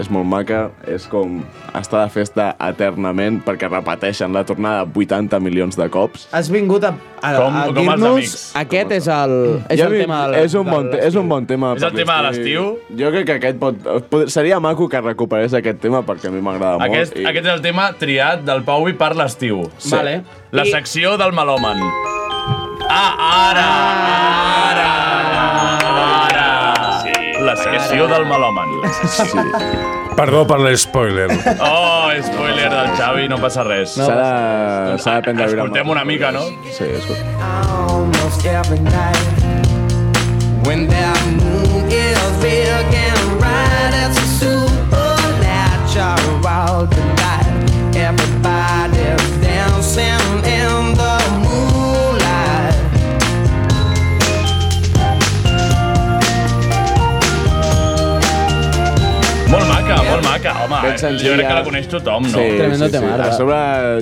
és molt maca, és com estar de festa eternament perquè repeteixen la tornada 80 milions de cops.
Has vingut a, a,
Com-
a
com els
dir-nos...
amics.
Aquest és el, és
Jo
el
dic,
tema del,
és un, bon, te- és un bon tema.
És el
per
tema de l'estiu?
Jo crec que aquest pot, pot... Seria maco que recuperés aquest tema perquè a mi m'agrada molt.
Aquest,
i...
aquest és el tema triat del Pauvi per l'estiu.
Sí. Vale.
La
I-
secció del melòman. Ah, La secció del melòman.
Sí. Perdó per l'espoiler.
Oh, spoiler del Xavi, no passa res.
No S'ha de-
Doncs s'ha de prendre
viure Escoltem una mica, no?
Sí, escolta.
almost every night. When that moon is big and bright, it's a supernatural world tonight. Everybody's dancing in the moonlight.
Molt maca, molt maca, home. eh,
Ben senzilla.
Jo crec que la coneix tothom, no?
Sí, sí, sí. A sobre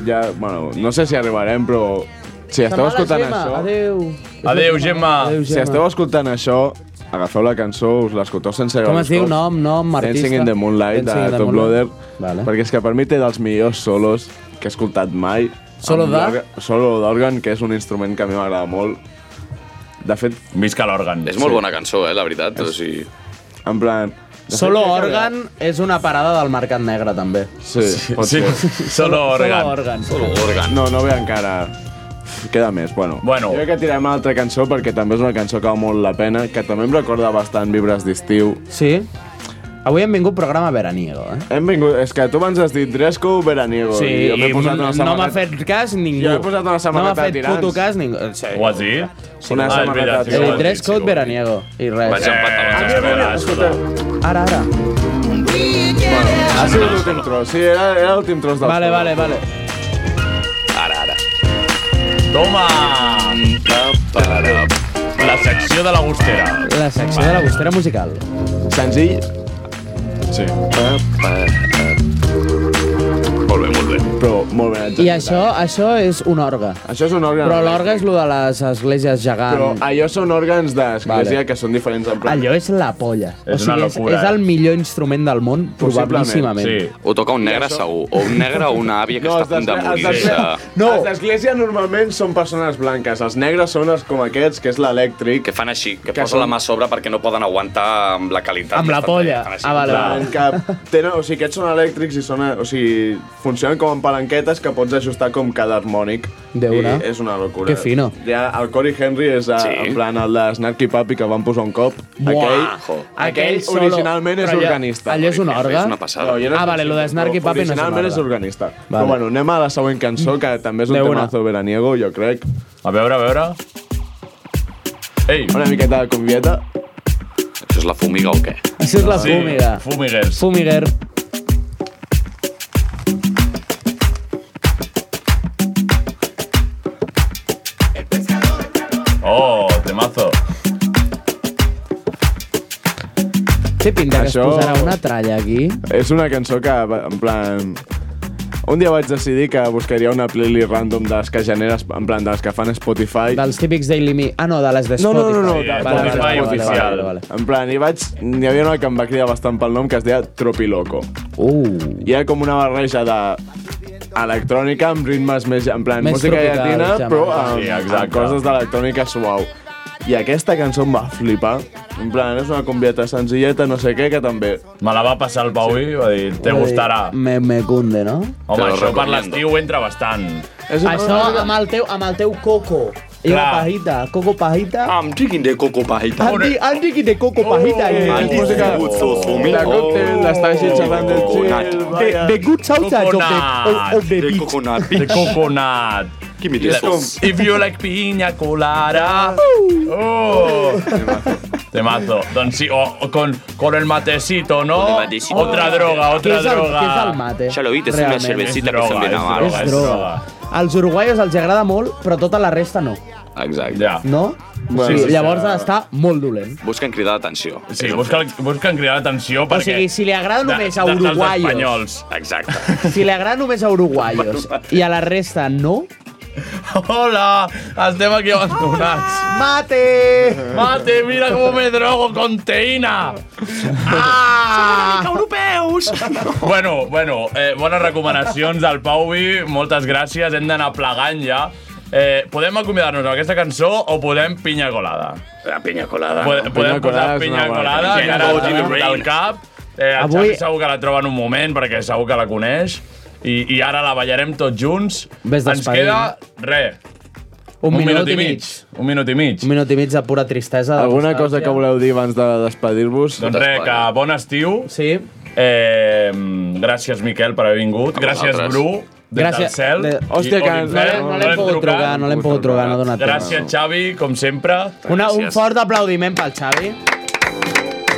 ja... Bueno, no sé si arribarem, però... Si esteu escoltant això...
Adéu.
Adéu, Gemma.
Si esteu escoltant això, agafeu la cançó, us l'escolteu sense
Com es diu?
No,
Nom, nom, artista.
Dancing in the Moonlight,
Dancing in the
de Top
Moonlight.
Loader. Vale. Perquè és que per mi té dels millors solos que he escoltat mai.
Solo
Amb
de?
l'òrgan- Solo d'òrgan, que és un instrument que a mi m'agrada molt. De fet...
Visca l'òrgan.
És molt bona cançó, eh, la veritat. O sigui,
En plan... de fet,
Solo
crec que-
Organ és una parada del mercat negre, també.
Sí, pot
*laughs*
sí.
ser.
Solo Organ. Solo Organ. Solo
Organ.
No, no ve encara. Queda més, bueno.
Bueno.
Jo crec que tirem una altra cançó perquè també és una cançó que val molt la pena, que també em recorda bastant vibres d'estiu.
Sí? Avui hem vingut programa veraniego, eh?
Hem vingut... És que tu abans has dit Dresco veraniego.
Sí,
i jo m'he
i
posat
no
una
m'ha
samarreta-
fet cas ningú.
Jo m'he posat una
No m'ha
samarreta
fet
de tirants.
puto cas ningú. Sí.
Ho has dit?
Sí, una
Ah, és
samarreta
veritat,
de
sí,
tirants.
El dress code veraniego. I res.
Vaig
Eh,
empatar, vaig
Aquí,
empatar.
mira, escolta. Ara, ara.
Ha sigut l'últim tros, sí, era, era l'últim tros del
Ah, Vale, vale, vale.
Ara, ara.
Toma! La secció de la gustera.
La secció de la bustera musical.
Senzill.
Sí. Molt bé, molt bé.
Però molt ben
I això, això és un orgue.
Això és un òrgan.
Però l'orgue és lo de les esglésies
Però
gegants.
allò són òrgans d'església
Vale.
que són diferents en plan.
Allò és la polla.
És
o sigui,
una
és,
locura, eh?
és el millor instrument del món,
Possiblement,
probabilíssimament.
O toca un negre segur, o un negre o una àvia que
No,
no,
els
està a punt de
d'església- els
morir.
d'església-
Que,
No. Els d'església normalment són persones blanques. Els negres són els com aquests, que és l'elèctric.
que fan així, que, posa la mà a sobre perquè no poden aguantar amb la qualitat. eh,
Amb la
que estan
polla.
fent, fan
Ah,
així.
Que tenen, o sigui, aquests són elèctrics i són, o sigui, funcionen com en palanquetes que pots ajustar com cada harmònic.
Déu-n'hi.
I És una locura.
Que fino.
Ja, el Cory Henry és a,
Sí.
sí. en plan el de Snarky Papi que van posar un cop.
Buah.
Aquell, aquell
solo.
originalment és
Però allò-
organista.
Allò és un orgue? ah, vale, lo de Snarky Papi no és un
Originalment
orgue.
és organista. Però bueno, anem a la següent cançó, que també és un
De una.
temazo veraniego, jo crec.
A veure, a veure... Ei.
Una miqueta de convieta.
Això és la fumiga o què?
Això és la
Sí,
fúmiga.
fumiguers.
Fumiguer.
Oh, temazo.
Té pinta que Això...
Això-
es posarà una tralla aquí.
És una cançó que, va- en plan... Un dia vaig decidir que buscaria una playlist random de les que generes, en plan, de les que fan Spotify.
Dels típics Daily Me. Ah, no, de les de
No,
Spotify.
no, no, no, de
Vale, vale, vale, vale, vale, vale.
En plan, i vaig... N'hi havia una que em va cridar bastant pel nom que es deia Tropiloco.
Uh.
I era com una barreja de electrònica amb ritmes més... En plan,
Més
música
tropical,
llatina,
ja,
però
vale.
amb,
Sí,
amb
exacte.
coses d'electrònica suau. I aquesta cançó em va flipar. En plan, és una convieta senzilleta, no sé què, que també...
Me la va passar el Pau i va dir, te gustarà.
Me, me cunde, no?
Home, això per l'estiu entra bastant.
Això amb el teu, amb el teu coco. I una
Clar.
pajita, coco pajita.
Ah,
I'm drinking the coco pajita.
Andy, Andy, que de coco pajita. eh.
Andy, La
Oh.
còctel, les tagis, xerrant del chill, vaya.
The good sausage of the, of, of the beach.
coconut.
The coconut.
Give me
the
Let's- If you like piña colada.
Uh.
Oh. Temazo. Doncs sí, o, o con, con el matecito, ¿no? Otra droga,
Què
otra
és el-
droga.
Què és el mate? Realment.
És droga,
És droga. Als uruguaios els agrada molt, però tota la resta no.
Exacte.
Ja.
No?
Bueno,
sí,
sí, sí,
llavors
sí.
ha d'estar molt dolent.
Busquen cridar l'atenció.
Sí, busca, busquen cridar l'atenció
O
perquè...
sigui, si li agrada només a
de- dels
uruguaios,
espanyols. *laughs*
Exacte.
*laughs* si li agrada només a uruguaios i a la resta no,
Hola, estem aquí abandonats.
Ah.
Mate!
Mate, mira com me drogo con teïna.
Ah! Som una mica europeus!
Bueno, bueno, eh, bones recomanacions del Pauvi, moltes gràcies, hem d'anar plegant ja. Eh, podem acomiadar-nos amb aquesta cançó o podem pinya colada?
La pinya colada.
Podem,
no?
podem posar pinya colada, que ara
Jennifer
em ve al
Rain.
cap. Eh, el Avui...
Avui-
Xavi segur que la troba en un moment, perquè segur que la coneix. I, i ara la ballarem tots junts.
Ves
Ens
despedint,
queda, res,
Un, minut, i mig.
Un minut i mig.
Un minut i mig de pura tristesa. de
Alguna
nostàlgia.
cosa que voleu dir abans de despedir-vos?
Doncs res, que bon estiu.
Sí.
Eh, gràcies, Miquel, per haver vingut.
A
Gràcies,
vosaltres.
Bru, des del
Gràcies.
cel.
De- Hòstia,
I-
que
o
no
l'infern,
l'hem- no l'hem pogut trucar, no l'hem pogut trucar, no ha donat temps.
Gràcies, Xavi, com sempre.
Una, un fort aplaudiment pel Xavi.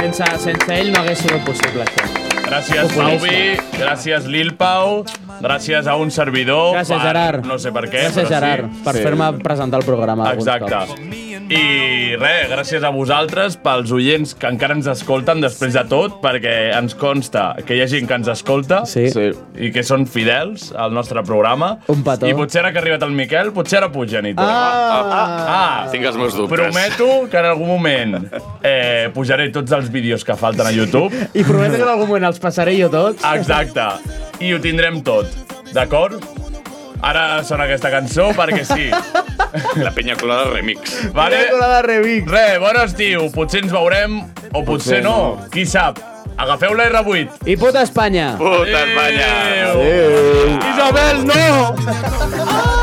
Sense, sense ell no hagués sigut possible això.
Gràcies, Pauvi. Gràcies, Lil Pau. Gràcies a un servidor.
Gràcies,
per,
Gerard.
No sé per què.
Gràcies,
però
Gerard,
sí.
per fer-me presentar el programa. alguns
Exacte.
cops.
I res, gràcies a vosaltres, pels oients que encara ens escolten després de tot, perquè ens consta que hi ha gent que ens escolta sí. i que són fidels al nostre programa. Un
petó.
I potser ara que ha arribat el Miquel, potser ara pugen i tot.
Ah! Tinc els meus dubtes.
Prometo que en algun moment eh, pujaré tots els vídeos que falten a YouTube.
I prometo que en algun moment els passaré jo tots.
Exacte. I ho tindrem tot. D'acord? Ara sona aquesta cançó perquè sí.
La pinya colada remix.
Vale?
de Revic.
Re, bon estiu. Potser ens veurem o potser
Potser
no. Qui sap? Agafeu la R8.
I puta Espanya!
Puta Espanya.
Adéu. Isabel, no!
Ah!